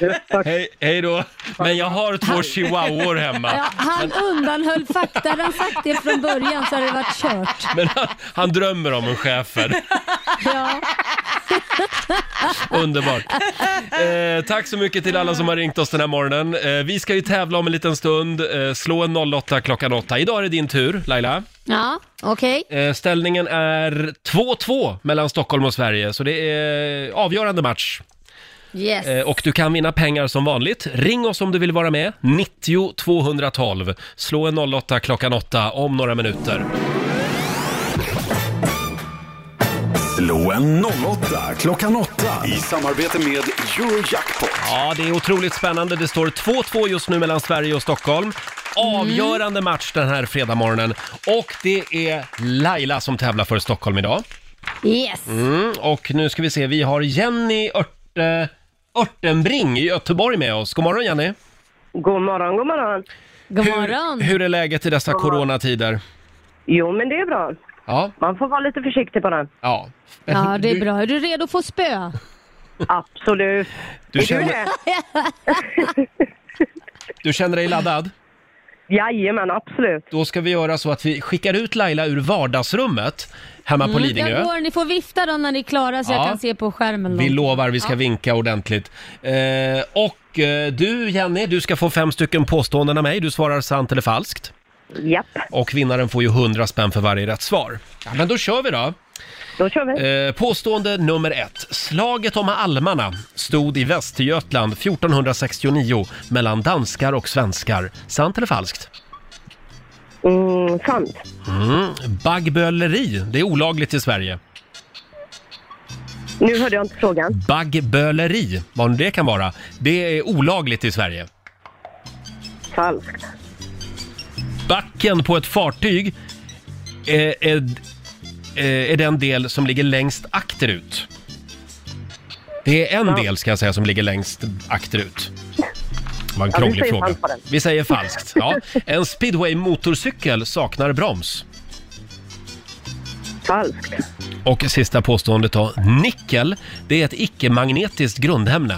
[SPEAKER 9] Yes, tack.
[SPEAKER 1] Hej, hej då! Men jag har två chihuahuor hemma.
[SPEAKER 3] Ja, han undanhöll fakta. Hade han sagt det från början så hade det varit kört.
[SPEAKER 1] Men han, han drömmer om en schäfer.
[SPEAKER 3] Ja.
[SPEAKER 1] Underbart. Eh, tack så mycket till alla som har ringt oss den här morgonen. Eh, vi ska ju tävla om en liten stund. Eh, slå en 08 klockan 8. Idag är det din tur, Laila.
[SPEAKER 3] Ja, okej.
[SPEAKER 1] Eh, ställningen är 2-2 mellan Stockholm och Sverige, så det är avgörande match.
[SPEAKER 3] Yes.
[SPEAKER 1] Eh, Och du kan vinna pengar som vanligt. Ring oss om du vill vara med. 90 212. Slå en 08 klockan 8 om några minuter.
[SPEAKER 4] Slå en 08 klockan 8 i samarbete med Eurojackpot.
[SPEAKER 1] Ja, det är otroligt spännande. Det står 2-2 just nu mellan Sverige och Stockholm. Avgörande match den här fredagmorgonen. Och det är Laila som tävlar för Stockholm idag.
[SPEAKER 3] Yes.
[SPEAKER 1] Mm, och nu ska vi se, vi har Jenny Örte, Örtenbring i Göteborg med oss. God morgon Jenny!
[SPEAKER 10] God morgon, god morgon.
[SPEAKER 3] God
[SPEAKER 1] morgon! Hur är läget i dessa coronatider?
[SPEAKER 10] Jo, men det är bra.
[SPEAKER 1] Ja,
[SPEAKER 10] Man får vara lite försiktig på den.
[SPEAKER 1] ja.
[SPEAKER 3] Ja, det är bra. Är du redo för att spö?
[SPEAKER 10] Absolut.
[SPEAKER 1] Du känner, du känner dig laddad?
[SPEAKER 10] Jajamän, absolut.
[SPEAKER 1] Då ska vi göra så att vi skickar ut Laila ur vardagsrummet hemma
[SPEAKER 10] Mm,
[SPEAKER 1] på Lidingö.
[SPEAKER 3] Mm, Jag går. Ni får vifta då när ni är klara så
[SPEAKER 1] Ja.
[SPEAKER 3] jag kan se på skärmen. då.
[SPEAKER 1] Vi lovar, vi ska vinka ordentligt. Eh, och eh, du Jenny, du ska få fem stycken påståenden av mig. Du svarar sant eller falskt.
[SPEAKER 10] Japp,
[SPEAKER 1] Och vinnaren får ju 100 spänn för varje rätt svar. Ja, men då kör vi då.
[SPEAKER 10] då kör vi.
[SPEAKER 1] Eh, påstående nummer ett. Slaget om almarna stod i Västergötland 1469 mellan danskar och svenskar. Sant eller falskt?
[SPEAKER 10] Mm, sant.
[SPEAKER 1] Mm. Baggböleri, det är olagligt i Sverige.
[SPEAKER 10] Nu hörde jag inte frågan.
[SPEAKER 1] Baggböleri, vad nu det kan vara, det är olagligt i Sverige.
[SPEAKER 10] Falskt.
[SPEAKER 1] Backen på ett fartyg är, är, eh, är den del som ligger längst akterut. Det är en del ska jag säga som ligger längst akterut. Det var en
[SPEAKER 10] Ja, vi
[SPEAKER 1] krånglig
[SPEAKER 10] säger
[SPEAKER 1] fråga.
[SPEAKER 10] falskt på den.
[SPEAKER 1] Vi säger falskt.
[SPEAKER 10] *laughs*
[SPEAKER 1] Ja. En speedway-motorcykel saknar broms.
[SPEAKER 10] Falskt.
[SPEAKER 1] Och sista påståendet då. Nickel, det är ett icke-magnetiskt grundämne.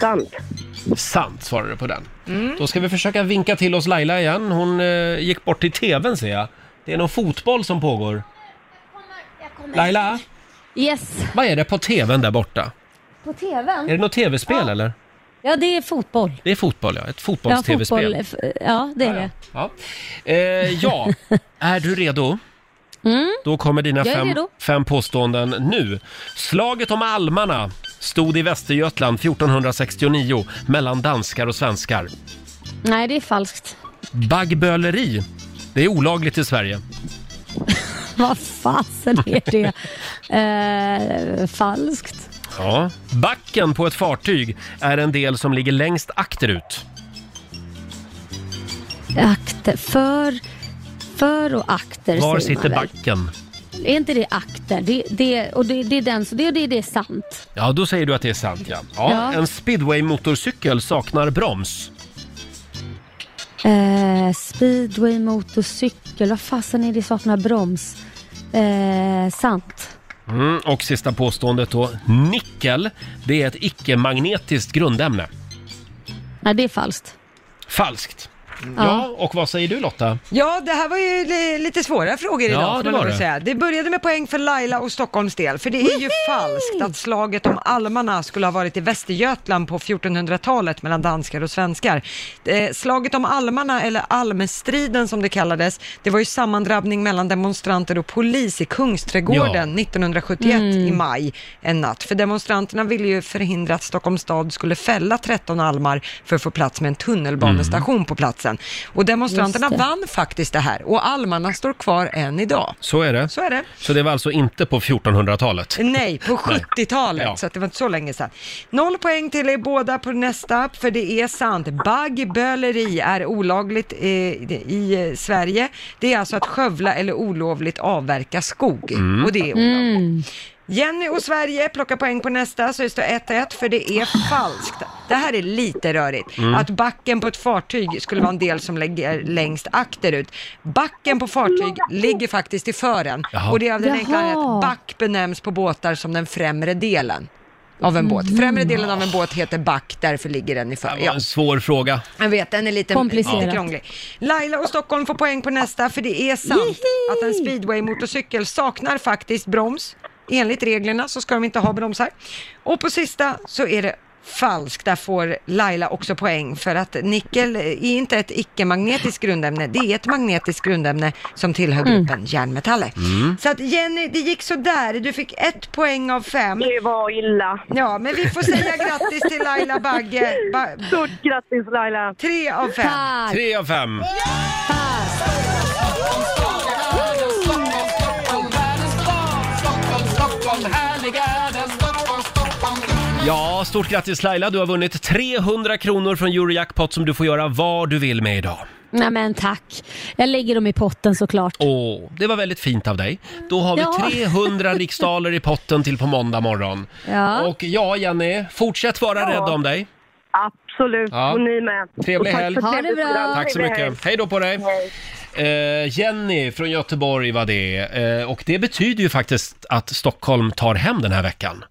[SPEAKER 10] Sant.
[SPEAKER 1] Sant svarade du på den. Då ska vi försöka vinka till oss Laila igen. Hon eh, gick bort till tvn ser jag. Det är någon fotboll som pågår. Laila,
[SPEAKER 3] Yes,
[SPEAKER 1] vad är det på tvn där borta?
[SPEAKER 3] på
[SPEAKER 1] Är det
[SPEAKER 3] tvn.
[SPEAKER 1] något tv-spel eller?
[SPEAKER 3] Ja, det är fotboll.
[SPEAKER 1] Det är fotboll ja, ett
[SPEAKER 3] Ja, fotboll.
[SPEAKER 1] fotbolls-tv-spel.
[SPEAKER 3] F- Ja, det är det.
[SPEAKER 1] Ja. Eh,
[SPEAKER 3] *laughs*
[SPEAKER 1] ja, är du redo?
[SPEAKER 3] Mm.
[SPEAKER 1] Då kommer dina
[SPEAKER 3] Jag är
[SPEAKER 1] fem,
[SPEAKER 3] redo.
[SPEAKER 1] fem påståenden nu. Slaget om almarna stod i Västergötland 1469 mellan danskar och svenskar.
[SPEAKER 3] Nej, det är falskt. *laughs*
[SPEAKER 1] Baggböleri, det är olagligt i Sverige.
[SPEAKER 3] Vad fasen är
[SPEAKER 1] *laughs*
[SPEAKER 3] det? eh, falskt.
[SPEAKER 1] Ja. Backen på ett fartyg är en del som ligger längst akterut.
[SPEAKER 3] Akter. För, för och
[SPEAKER 1] Var
[SPEAKER 3] akter säger man
[SPEAKER 1] sitter
[SPEAKER 3] väl?
[SPEAKER 1] backen?
[SPEAKER 3] Är inte det akter? Det, det, och det, det är den, så det, det, det är sant.
[SPEAKER 1] Ja, då säger du att det är sant ja. ja,
[SPEAKER 3] Ja.
[SPEAKER 1] En speedway-motorcykel saknar broms.
[SPEAKER 3] Eh, speedway, motorcykel, vad fasen är det saknar broms? Eh, sant.
[SPEAKER 1] Mm, och sista påståendet då. Nickel, det är ett icke-magnetiskt grundämne.
[SPEAKER 3] Nej, det är falskt.
[SPEAKER 1] Falskt. Ja.
[SPEAKER 3] Mm. Ja.
[SPEAKER 1] och vad säger du Lotta?
[SPEAKER 2] Ja, det här var ju li- lite svåra frågor idag.
[SPEAKER 1] Ja,
[SPEAKER 2] får
[SPEAKER 1] det var
[SPEAKER 2] man lov
[SPEAKER 1] det.
[SPEAKER 2] att Säga. Det började med poäng för Laila och Stockholms del, för det är ju falskt att slaget om almarna skulle ha varit i Västergötland på 1400-talet mellan danskar och svenskar. Eh, slaget om almarna, eller almstriden som det kallades, det var ju sammandrabbning mellan demonstranter och polis i Kungsträdgården 1971
[SPEAKER 3] Mm.
[SPEAKER 2] i maj en natt. För demonstranterna ville ju förhindra att Stockholms stad skulle fälla 13 almar för att få plats med en tunnelbanestation på platsen. Och demonstranterna
[SPEAKER 3] Mm. Just det.
[SPEAKER 2] vann faktiskt det här och almarna står kvar än idag.
[SPEAKER 1] Så är det.
[SPEAKER 2] Så är det.
[SPEAKER 1] Så det var alltså inte på 1400-talet?
[SPEAKER 2] Nej, på
[SPEAKER 1] Nej.
[SPEAKER 2] 70-talet,
[SPEAKER 1] Ja.
[SPEAKER 2] så att det var inte så länge sedan. Noll poäng till er båda på nästa, för det är sant. Baggböleri är olagligt eh, i eh, Sverige. Det är alltså att skövla eller olovligt avverka skog, och det är olagligt. Jenny och Sverige plockar poäng på nästa så det står 1-1 för det är falskt. Det här är lite rörigt. Att backen på ett fartyg skulle vara en del som ligger längst akterut. Backen på fartyg ligger faktiskt i fören
[SPEAKER 1] Jaha.
[SPEAKER 2] och det är av den
[SPEAKER 3] Jaha.
[SPEAKER 2] enkla anledningen att back benämns på båtar som den främre delen av en båt. Främre delen av en båt heter back, därför ligger den i
[SPEAKER 1] Det
[SPEAKER 2] fören.
[SPEAKER 1] var
[SPEAKER 2] Ja.
[SPEAKER 1] en svår fråga.
[SPEAKER 2] Jag vet, den är lite,
[SPEAKER 3] Komplicerat.
[SPEAKER 2] lite krånglig. Laila och Stockholm får poäng på nästa, för det är sant att en speedway-motorcykel saknar faktiskt broms. Enligt reglerna så ska de inte ha bromsar. Och på sista så är det falskt. Där får Laila också poäng för att nickel är inte ett icke-magnetiskt grundämne. Det är ett magnetiskt grundämne som tillhör gruppen järnmetaller. Så att Jenny, det gick så där. Du fick ett poäng av fem. Det
[SPEAKER 9] var illa.
[SPEAKER 2] Ja, men vi får
[SPEAKER 9] *laughs*
[SPEAKER 2] säga grattis till Laila Bagge. Ba-
[SPEAKER 9] Stort grattis Laila!
[SPEAKER 2] Tre av fem.
[SPEAKER 3] Ah,
[SPEAKER 1] Tre av fem. Ja, stort grattis Laila. Du har vunnit 300 kronor från Eurojackpot som du får göra vad du vill med idag.
[SPEAKER 3] Nej men tack. Jag lägger dem i potten såklart.
[SPEAKER 1] Åh, det var väldigt fint av dig. Då har vi
[SPEAKER 3] Ja.
[SPEAKER 1] 300 riksdaler i potten till på måndag morgon.
[SPEAKER 3] Ja.
[SPEAKER 1] Och ja, Jenny, fortsätt vara
[SPEAKER 9] Ja.
[SPEAKER 1] rädd om dig.
[SPEAKER 9] Absolut,
[SPEAKER 1] Ja.
[SPEAKER 9] och ni med.
[SPEAKER 1] Trevlig
[SPEAKER 9] Och tack
[SPEAKER 1] helg.
[SPEAKER 9] för
[SPEAKER 1] Ha
[SPEAKER 9] trevligt
[SPEAKER 3] det bra.
[SPEAKER 9] program.
[SPEAKER 1] Tack så
[SPEAKER 9] Trevlig helg.
[SPEAKER 1] mycket. Hej då på dig. Eh, Jenny från Göteborg var det. Eh, och det betyder ju faktiskt att Stockholm tar hem den här veckan.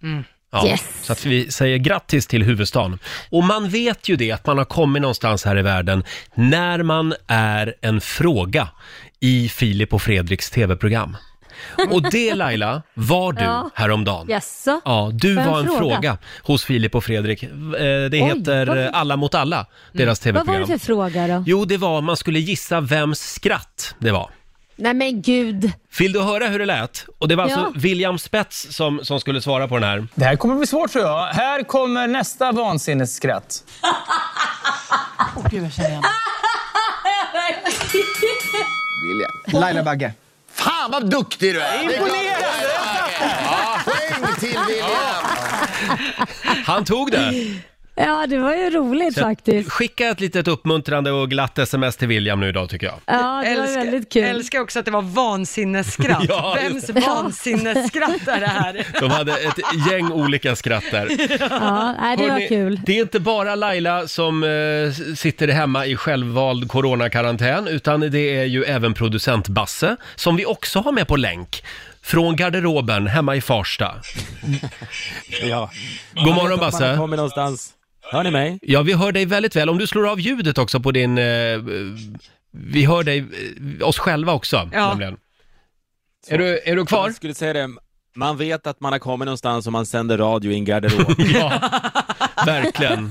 [SPEAKER 1] Ja,
[SPEAKER 3] Yes.
[SPEAKER 1] Så att vi säger grattis till huvudstaden. Och man vet ju det, att man har kommit någonstans här i världen när man är en fråga i Filip och Fredriks tv-program. Och
[SPEAKER 3] *laughs*
[SPEAKER 1] det Laila, var du
[SPEAKER 3] Ja.
[SPEAKER 1] häromdagen.
[SPEAKER 3] Jaså?
[SPEAKER 1] Ja, du
[SPEAKER 3] Får jag
[SPEAKER 1] var
[SPEAKER 3] en
[SPEAKER 1] en fråga?
[SPEAKER 3] fråga?
[SPEAKER 1] hos Filip och Fredrik. Eh, Det heter
[SPEAKER 3] vad- Mm.
[SPEAKER 1] eh, Alla mot alla, deras
[SPEAKER 3] Vad var
[SPEAKER 1] tv-program.
[SPEAKER 3] det för fråga då?
[SPEAKER 1] Jo, det var man skulle gissa vems skratt det var.
[SPEAKER 3] Nej men gud.
[SPEAKER 1] Vill du höra hur det lät? Och det var
[SPEAKER 3] Ja.
[SPEAKER 1] alltså William Spets som, som skulle svara på den här.
[SPEAKER 11] Det här kommer bli svårt tror jag. Här kommer nästa vansinnesskratt. Laila Bagge.
[SPEAKER 12] Fan vad duktig du är! Imponerande! Ja, poäng till William!
[SPEAKER 1] Han tog det!
[SPEAKER 3] Ja det var ju roligt
[SPEAKER 1] Så jag-
[SPEAKER 3] faktiskt.
[SPEAKER 1] Skicka ett litet uppmuntrande och glatt sms till William nu idag tycker jag.
[SPEAKER 3] Ja det var väldigt kul.
[SPEAKER 2] älskar också att det var vansinnesskratt.
[SPEAKER 1] *laughs* Ja,
[SPEAKER 2] Vems
[SPEAKER 1] just Mm.
[SPEAKER 2] vansinnesskratt är
[SPEAKER 1] *laughs*
[SPEAKER 2] det här?
[SPEAKER 1] De hade ett gäng olika skratt där.
[SPEAKER 3] Ja, nej, det
[SPEAKER 1] Hörrni,
[SPEAKER 3] var kul.
[SPEAKER 1] Det är inte bara Laila som eh, sitter hemma i självvald coronakarantän, utan det är ju även producent Basse, som vi också har med på länk. Från garderoben hemma i Farsta.
[SPEAKER 5] Ja.
[SPEAKER 1] God morgon
[SPEAKER 5] Man har
[SPEAKER 1] Basse.
[SPEAKER 5] kommit någonstans. Hör ni mig?
[SPEAKER 1] Ja, vi hör dig väldigt väl. Om du slår av ljudet också på din... Eh, vi hör dig, eh, oss själva också
[SPEAKER 5] Ja.
[SPEAKER 1] nämligen. Är du, är du kvar?
[SPEAKER 5] *laughs* Jag skulle säga det, man vet att man har kommit någonstans om man sänder radio i en garderob.
[SPEAKER 1] ja, verkligen.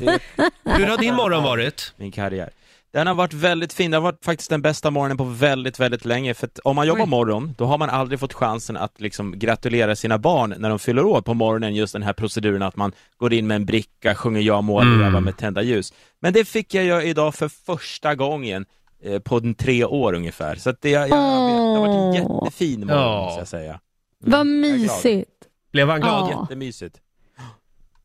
[SPEAKER 1] Hur har din morgon varit?
[SPEAKER 5] Min karriär. Den har varit väldigt fin, det har varit faktiskt den bästa morgonen på väldigt, väldigt länge. För att om man jobbar morgon, då har man aldrig fått chansen att liksom gratulera sina barn när de fyller år på morgonen, just den här proceduren att man går in med en bricka, sjunger jag må
[SPEAKER 1] Mm.
[SPEAKER 5] leva med tända ljus. Men det fick jag göra idag för första gången eh, på en tre år ungefär. Så att det, jag, jag, det har varit en jättefin morgon,
[SPEAKER 1] Ja.
[SPEAKER 5] måste jag säga.
[SPEAKER 3] Vad
[SPEAKER 5] glad.
[SPEAKER 3] mysigt.
[SPEAKER 1] Blev han
[SPEAKER 3] glad? Ja.
[SPEAKER 5] Jättemysigt.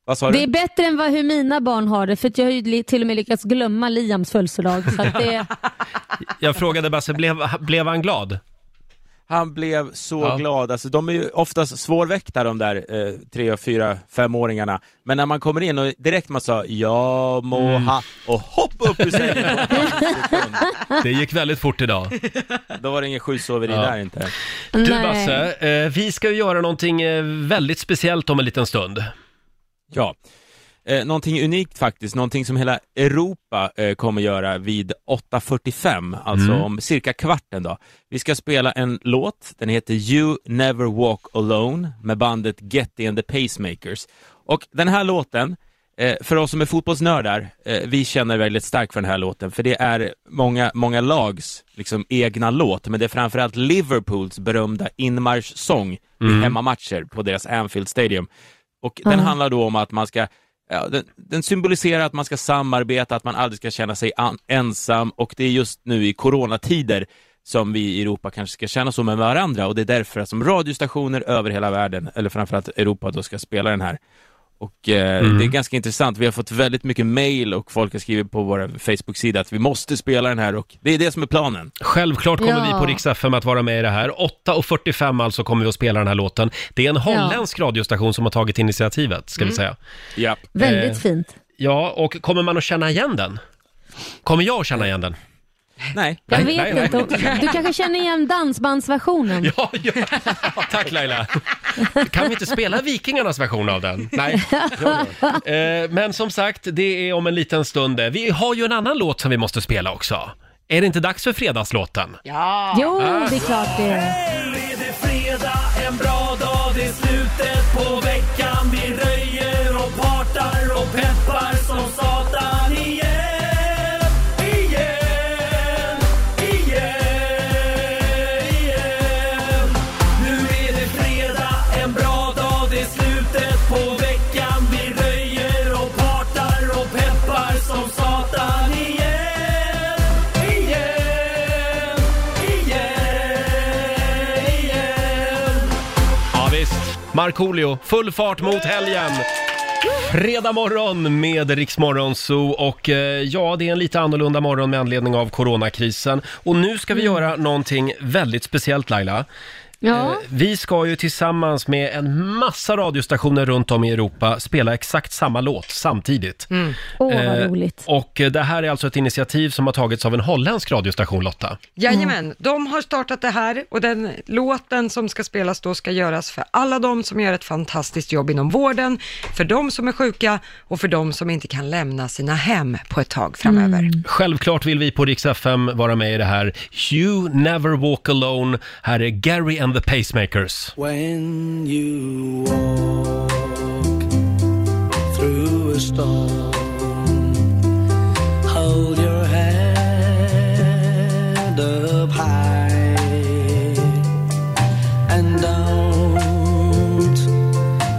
[SPEAKER 5] Vad sa du?
[SPEAKER 3] Det är bättre än vad, hur mina barn har det, för att jag har ju li- till och med lyckats glömma Liams födelsedag. Så att det,
[SPEAKER 1] Jag frågade Basse, blev, blev han glad?
[SPEAKER 5] Han blev så glad, alltså de är ju oftast svårväckta de där eh, tre, fyra, femåringarna Men när man kommer in och direkt man sa ja må ha och hopp upp ur sängen!
[SPEAKER 1] Det gick väldigt fort idag.
[SPEAKER 5] Då var det ingen sjusoveri
[SPEAKER 1] Ja.
[SPEAKER 5] där inte
[SPEAKER 1] *laughs* Du
[SPEAKER 5] Nej.
[SPEAKER 1] Basse, eh, vi ska ju göra någonting eh, väldigt speciellt om en liten stund.
[SPEAKER 5] Ja, eh, någonting unikt faktiskt, någonting som hela Europa eh, kommer göra vid 8.45, alltså
[SPEAKER 1] Mm.
[SPEAKER 5] om cirka kvarten då. Vi ska spela en låt, den heter You Never Walk Alone med bandet Getty and the Pacemakers. Och den här låten, eh, för oss som är fotbollsnördar, eh, vi känner väldigt starkt för den här låten, för det är många, många lags liksom, egna låt, men det är framförallt Liverpools berömda inmarschsång vid
[SPEAKER 8] Mm.
[SPEAKER 5] hemmamatcher på deras Anfield Stadium. Och
[SPEAKER 8] Ja.
[SPEAKER 5] den handlar då om att man ska Ja, den, den symboliserar att man ska samarbeta, att man aldrig ska känna sig an, ensam och det är just nu i coronatider som vi i Europa kanske ska känna så med varandra och det är därför som radiostationer över hela världen, eller framförallt Europa då, ska spela den här. Och eh,
[SPEAKER 1] Mm.
[SPEAKER 5] det är ganska intressant, vi har fått väldigt mycket mail och folk har skrivit på vår Facebook-sida att vi måste spela den här och det är det som är planen.
[SPEAKER 1] Självklart kommer
[SPEAKER 5] Ja.
[SPEAKER 1] vi på Rix FM att vara med i det här. 8.45 alltså kommer vi att spela den här låten. Det är en holländsk radiostation som har tagit initiativet, ska vi
[SPEAKER 5] Mm.
[SPEAKER 1] säga.
[SPEAKER 5] Ja.
[SPEAKER 3] väldigt
[SPEAKER 1] Eh,
[SPEAKER 3] fint.
[SPEAKER 1] Ja, och kommer man att känna igen den? Kommer jag att känna igen den?
[SPEAKER 5] Nej.
[SPEAKER 3] Jag
[SPEAKER 1] Nej,
[SPEAKER 3] vet
[SPEAKER 1] nej, nej.
[SPEAKER 3] inte. Du kanske känner igen dansbandsversionen?
[SPEAKER 1] Ja, ja. Tack Laila. Kan vi inte spela Vikingarnas version av den? Nej. Eh, Men som sagt, det är om en liten stund. det. Vi har ju en annan låt som vi måste spela också. Är det inte dags för fredagslåten?
[SPEAKER 3] Jo, det är klart det är.
[SPEAKER 13] Är det fredag, en bra dag, det är slut,
[SPEAKER 5] på veckan Vi röjer och partar och peppar som satan igen Igen, igen, igen Nu är det fredag, en bra dag, det är slutet på veckan Vi röjer och partar och peppar som satan igen Igen, igen, igen
[SPEAKER 1] Ja, visst. Markoolio, full fart mot helgen! Fredag morgon med Riksmorgon Zoo och eh, ja, det är en lite annorlunda morgon med anledning av coronakrisen. Och nu ska
[SPEAKER 3] Mm.
[SPEAKER 1] vi göra någonting väldigt speciellt Laila.
[SPEAKER 3] Ja.
[SPEAKER 1] Eh, Vi ska ju tillsammans med en massa radiostationer runt om i Europa spela exakt samma låt samtidigt.
[SPEAKER 3] Mm. Åh, vad
[SPEAKER 1] Eh,
[SPEAKER 3] roligt.
[SPEAKER 1] Och eh, det här är alltså ett initiativ som har tagits av en holländsk radiostation Lotta.
[SPEAKER 2] Jajamän, de har startat det här och den låten som ska spelas då ska göras för alla de som gör ett fantastiskt jobb inom vården, för de som är sjuka och för de som inte kan lämna sina hem på ett tag framöver.
[SPEAKER 3] Mm.
[SPEAKER 1] Självklart vill vi på Rix FM vara med i det här. You never walk alone. Här är Gary and the Pacemakers.
[SPEAKER 5] When you walk through a storm, hold your head up high and don't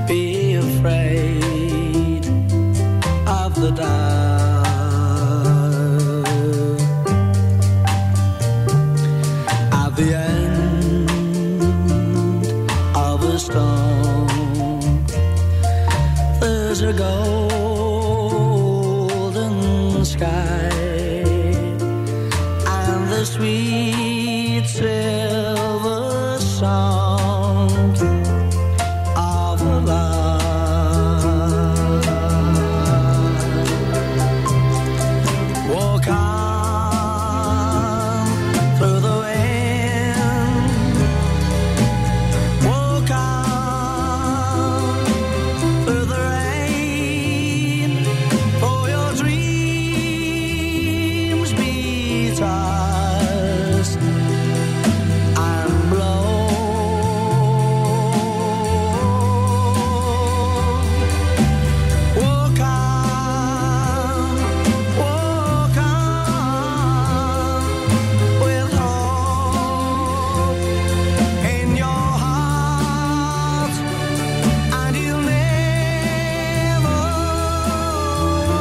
[SPEAKER 5] be afraid of the dark. At the end of a storm. There's a golden sky and the sweet silver sound of love. Walk on through the wind. Walk on through the rain, for your dreams be tossed and blown. Walk on, walk on with hope in your heart, and you'll never walk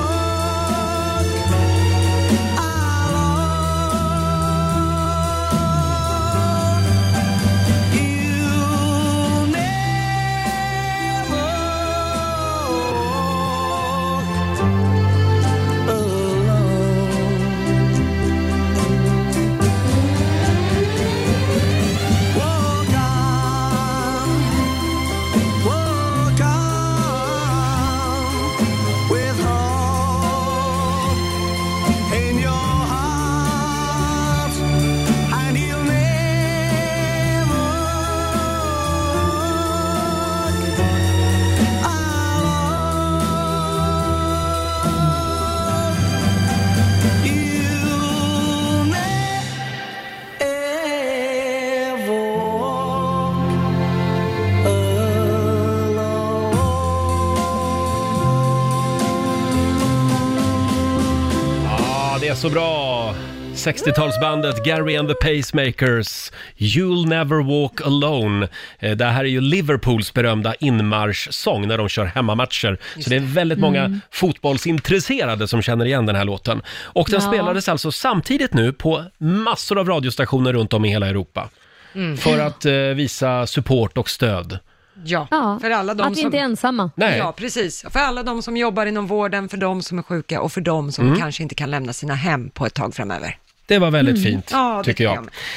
[SPEAKER 5] alone. You'll never walk alone. Walk on, walk on with hope in your heart, and you'll never walk alone. You'll never ever walk alone.
[SPEAKER 1] Ja, Ah, det är så bra! 60-talsbandet Gary and the Pacemakers, You'll never walk alone. Eh, Det här är ju Liverpools berömda inmarschsång när de kör hemmamatcher. Så det är väldigt många
[SPEAKER 14] Mm.
[SPEAKER 1] fotbollsintresserade som känner igen den här låten. Och den
[SPEAKER 14] Ja.
[SPEAKER 1] spelades alltså samtidigt nu på massor av radiostationer runt om i hela Europa.
[SPEAKER 3] Mm.
[SPEAKER 1] För att eh, visa support och stöd.
[SPEAKER 2] Ja, för alla de
[SPEAKER 3] att vi
[SPEAKER 2] som...
[SPEAKER 3] inte är ensamma.
[SPEAKER 1] Nej.
[SPEAKER 2] Ja, precis. För alla de som jobbar inom vården, för de som är sjuka och för de som
[SPEAKER 1] Mm.
[SPEAKER 2] kanske inte kan lämna sina hem på ett tag framöver.
[SPEAKER 1] Det var väldigt
[SPEAKER 2] Mm.
[SPEAKER 1] fint,
[SPEAKER 2] Ja, det
[SPEAKER 1] tycker
[SPEAKER 2] tycker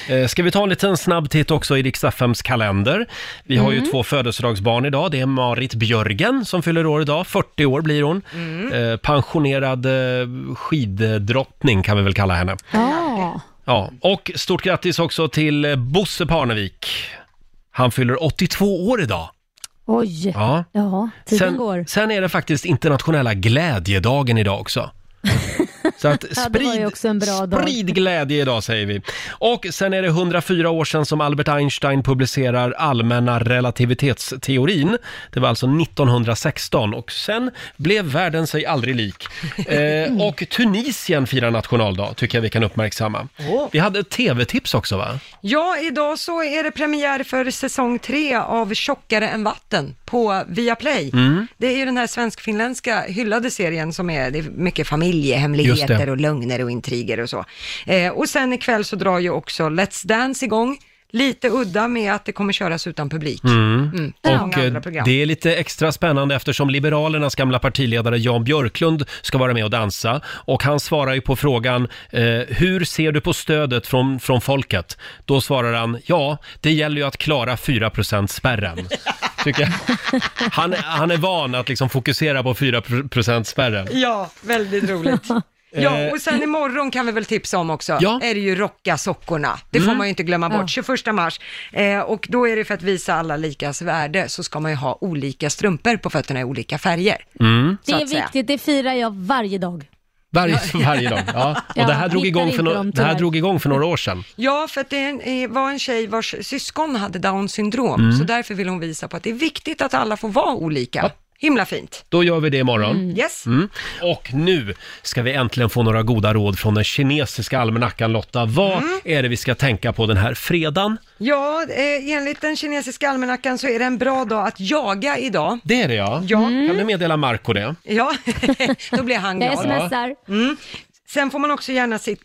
[SPEAKER 1] jag. Eh, Ska vi ta en liten snabb titt också i Riksaffems kalender? Vi har ju
[SPEAKER 14] Mm.
[SPEAKER 1] två födelsedagsbarn idag. Det är Marit Björgen som fyller år idag. 40 år blir hon.
[SPEAKER 14] Mm.
[SPEAKER 1] Eh, Pensionerad eh, skiddrottning kan vi väl kalla henne.
[SPEAKER 3] Ja.
[SPEAKER 1] Ja, och stort grattis också till eh, Bosse Parnevik. Han fyller 82 år idag.
[SPEAKER 3] Oj.
[SPEAKER 1] Ja.
[SPEAKER 3] Ja, tiden går. *laughs*
[SPEAKER 1] sen är det faktiskt internationella glädjedagen idag också. Så att
[SPEAKER 3] Ja, det var ju
[SPEAKER 1] sprid,
[SPEAKER 3] också en bra dag.
[SPEAKER 1] sprid glädje idag säger vi. Och sen är det 104 år sedan som Albert Einstein publicerar allmänna relativitetsteorin. Det var alltså 1916 och sen blev världen sig aldrig
[SPEAKER 3] *laughs*
[SPEAKER 1] lik. Eh, och Tunisien firar nationaldag, tycker jag vi kan uppmärksamma.
[SPEAKER 2] Åh.
[SPEAKER 1] Vi hade ett tv-tips också va?
[SPEAKER 2] Ja, idag så är det premiär för säsong tre av Tjockare än vatten på Viaplay.
[SPEAKER 1] Mm.
[SPEAKER 2] Det är ju den här svensk-finländska hyllade serien som är, det är mycket familjehemligheter
[SPEAKER 1] Just det.
[SPEAKER 2] och lögner och intriger och så. Eh, och sen ikväll så drar ju också Let's Dance igång. Lite udda med att det kommer köras utan publik.
[SPEAKER 1] Mm.
[SPEAKER 2] Mm, som
[SPEAKER 1] Och
[SPEAKER 2] många andra
[SPEAKER 1] eh,
[SPEAKER 2] program.
[SPEAKER 1] det är lite extra spännande eftersom Liberalernas gamla partiledare Jan Björklund ska vara med och dansa. Och han svarar ju på frågan, eh, hur ser du på stödet från, från folket? Då svarar han, ja, det gäller ju att klara 4%-spärren. Tycker jag. Han, han är van att liksom fokusera på 4%-spärren.
[SPEAKER 2] Ja,
[SPEAKER 1] *laughs*
[SPEAKER 2] väldigt roligt. Ja, och sen imorgon kan vi väl tipsa om också,
[SPEAKER 1] Eh. Ja.
[SPEAKER 2] är det ju Rocka sockorna. Det får
[SPEAKER 1] Mm.
[SPEAKER 2] man ju inte glömma bort,
[SPEAKER 1] Ja.
[SPEAKER 2] 21 mars. Eh, och då är det för att visa alla likas värde, så ska man ju ha olika strumpor på fötterna i olika färger.
[SPEAKER 1] Mm.
[SPEAKER 3] Det
[SPEAKER 2] Så
[SPEAKER 3] är
[SPEAKER 2] att säga.
[SPEAKER 3] viktigt, det firar jag varje dag.
[SPEAKER 1] Varje, varje dag. Ja. Och
[SPEAKER 3] Ja,
[SPEAKER 1] det här, drog
[SPEAKER 3] hittar
[SPEAKER 1] igång för
[SPEAKER 3] inte
[SPEAKER 1] no-
[SPEAKER 3] dem,
[SPEAKER 1] det här
[SPEAKER 3] tyvärr.
[SPEAKER 1] drog igång för några år sedan.
[SPEAKER 2] Ja, för att det är en- eh, var en tjej vars syskon hade down syndrom,
[SPEAKER 1] Mm.
[SPEAKER 2] så därför vill hon visa på att det är viktigt att alla får vara olika. Himla fint.
[SPEAKER 1] Då gör vi det imorgon.
[SPEAKER 2] Mm. Yes.
[SPEAKER 1] Mm. Och nu ska vi äntligen få några goda råd från den kinesiska almanackan Lotta. Vad
[SPEAKER 3] Mm.
[SPEAKER 1] är det vi ska tänka på den här fredagen?
[SPEAKER 2] Ja, eh, enligt den kinesiska almanackan så är det en bra dag att jaga idag.
[SPEAKER 1] Det är det ja.
[SPEAKER 2] Ja.
[SPEAKER 1] Kan
[SPEAKER 3] Mm.
[SPEAKER 1] du meddela Marco det?
[SPEAKER 2] Ja, *laughs* då blir han
[SPEAKER 1] Mm. Jag
[SPEAKER 2] glad.
[SPEAKER 1] smsar.
[SPEAKER 2] Mm. Sen får man också gärna si-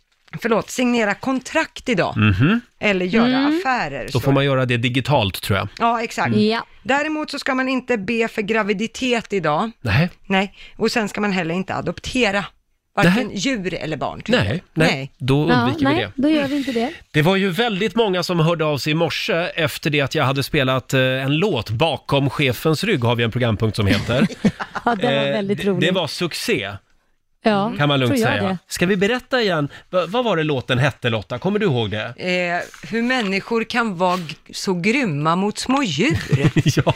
[SPEAKER 2] förlåt, signera kontrakt idag,
[SPEAKER 1] Mhm.
[SPEAKER 2] eller göra
[SPEAKER 1] Mm.
[SPEAKER 2] affärer.
[SPEAKER 1] Då
[SPEAKER 2] så.
[SPEAKER 1] får man göra det digitalt tror jag.
[SPEAKER 2] Ja, exakt.
[SPEAKER 1] Mm.
[SPEAKER 2] Däremot så ska man inte be för graviditet idag.
[SPEAKER 1] Nej.
[SPEAKER 2] Nej, och sen ska man heller inte adoptera varken djur eller barn. typ. tycker
[SPEAKER 1] Nej,
[SPEAKER 2] jag.
[SPEAKER 1] nej. Då undviker vi det.
[SPEAKER 3] Då gör vi
[SPEAKER 1] *laughs*
[SPEAKER 3] inte det.
[SPEAKER 1] Det var ju väldigt många som hörde av sig i morse efter det att jag hade spelat eh, en låt. Bakom chefens rygg har vi en programpunkt som heter.
[SPEAKER 3] *laughs* Ja, det var
[SPEAKER 1] Eh,
[SPEAKER 3] väldigt
[SPEAKER 1] det-
[SPEAKER 3] roligt.
[SPEAKER 1] Det var succé.
[SPEAKER 3] ja,
[SPEAKER 1] Kan man lugnt
[SPEAKER 3] tror jag
[SPEAKER 1] säga.
[SPEAKER 3] det.
[SPEAKER 1] Ska vi berätta igen, Va- vad var det låten hette Lotta? Kommer du ihåg det?
[SPEAKER 2] Eh, hur människor kan vara g- så grymma mot
[SPEAKER 1] *laughs*
[SPEAKER 2] små djur.
[SPEAKER 1] *laughs* ja.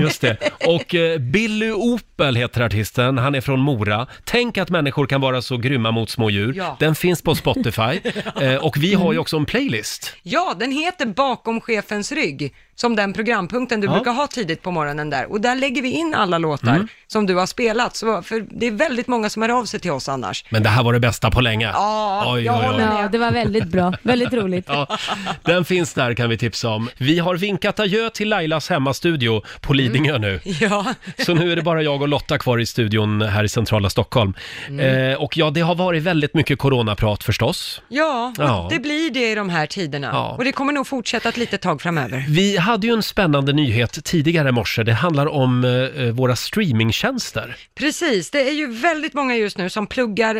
[SPEAKER 1] Just det. Och eh, Billy Opel heter artisten, han är från Mora. Tänk att människor kan vara så grymma mot små djur.
[SPEAKER 2] Ja. Mm.
[SPEAKER 1] Den finns på
[SPEAKER 2] *laughs*
[SPEAKER 1] Spotify. Eh, Och vi har ju också en playlist.
[SPEAKER 2] Ja, den heter Bakom chefens rygg, som den programpunkten du
[SPEAKER 1] Ja.
[SPEAKER 2] brukar ha tidigt på morgonen där. Och där lägger vi in alla låtar
[SPEAKER 1] Mm.
[SPEAKER 2] som du har spelat, så, för det är väldigt många som hör av sig till oss annars.
[SPEAKER 1] Men det här var det bästa på länge.
[SPEAKER 2] Ja, jag håller med.
[SPEAKER 3] Ja, det var väldigt bra. Väldigt roligt.
[SPEAKER 1] Ja, den finns där kan vi tipsa om. Vi har vinkat adjö till Lailas hemmastudio på
[SPEAKER 2] Mm.
[SPEAKER 1] Lidingö nu.
[SPEAKER 2] Ja.
[SPEAKER 1] Så nu är det bara jag och Lotta kvar i studion här i centrala Stockholm.
[SPEAKER 2] Mm.
[SPEAKER 1] Eh, och ja, det har varit väldigt mycket coronaprat förstås.
[SPEAKER 2] Ja, och
[SPEAKER 1] Ja.
[SPEAKER 2] det blir det i de här tiderna.
[SPEAKER 1] Ja.
[SPEAKER 2] Och det kommer nog fortsätta ett litet tag framöver.
[SPEAKER 1] Vi hade ju en spännande nyhet tidigare i morse. Det handlar om eh, våra streamingtjänster.
[SPEAKER 2] Precis, det är ju väldigt många just nu som pluggar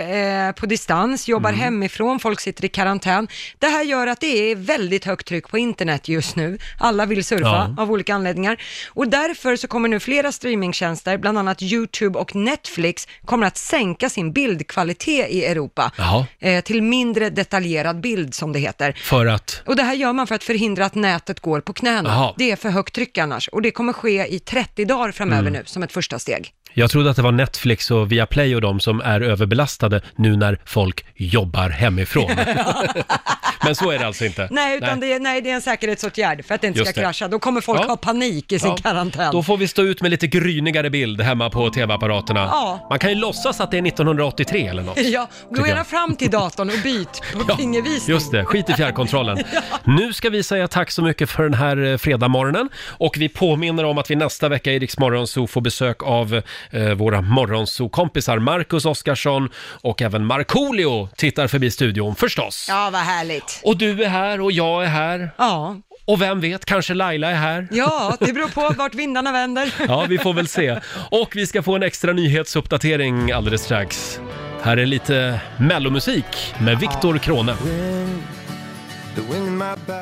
[SPEAKER 2] eh, på distans, jobbar
[SPEAKER 1] Mm.
[SPEAKER 2] hemifrån, folk sitter i karantän. Det här gör att det är väldigt högt tryck på internet just nu. Alla vill surfa
[SPEAKER 15] Ja.
[SPEAKER 2] av olika anledningar. Och därför så kommer nu flera streamingtjänster, bland annat YouTube och Netflix, kommer att sänka sin bildkvalitet i Europa.
[SPEAKER 1] Jaha.
[SPEAKER 2] Eh, till mindre detaljerad bild som det heter.
[SPEAKER 1] För att...
[SPEAKER 2] Och det här gör man för att förhindra att nätet går på knäna.
[SPEAKER 1] Jaha.
[SPEAKER 2] Det är för högt tryck annars och det kommer ske i 30 dagar framöver
[SPEAKER 1] Mm.
[SPEAKER 2] nu som ett första steg.
[SPEAKER 1] Jag trodde att det var Netflix och Viaplay och de som är överbelastade nu när folk jobbar
[SPEAKER 2] *laughs*
[SPEAKER 1] hemifrån. Men så är det alltså inte.
[SPEAKER 2] Nej, utan Det, är, nej, det är en säkerhetsåtgärd för att det inte
[SPEAKER 1] Just
[SPEAKER 2] ska
[SPEAKER 1] det.
[SPEAKER 2] krascha. Då kommer folk
[SPEAKER 1] Ja.
[SPEAKER 2] ha panik i sin
[SPEAKER 1] Ja.
[SPEAKER 2] karantän.
[SPEAKER 1] Då får vi stå ut med lite grynigare bild hemma på tv-apparaterna.
[SPEAKER 2] Ja.
[SPEAKER 1] Man kan ju låtsas att det är 1983 eller något.
[SPEAKER 2] Ja, gå
[SPEAKER 1] tycker
[SPEAKER 2] gärna
[SPEAKER 1] jag.
[SPEAKER 2] fram till datorn och byt
[SPEAKER 1] *laughs*
[SPEAKER 2] på fingervisning.
[SPEAKER 1] Just det, skit i
[SPEAKER 2] *laughs*
[SPEAKER 1] fjärrkontrollen. Nu ska vi säga tack så mycket för den här eh, fredagmorgonen och vi påminner om att vi nästa vecka i Rix Morgonzoo får besök av eh, våra morgonzoo-kompisar Marcus Oskarsson och även Markoolio tittar förbi studion förstås.
[SPEAKER 2] Ja, vad härligt.
[SPEAKER 1] Och du är här och jag är här.
[SPEAKER 2] Ja.
[SPEAKER 1] Och vem vet, kanske Laila är här.
[SPEAKER 2] Ja, det beror på vart vindarna vänder.
[SPEAKER 1] Ja, vi får väl se. Och vi ska få en extra nyhetsuppdatering alldeles strax. Här är lite mellomusik med Viktor Krone.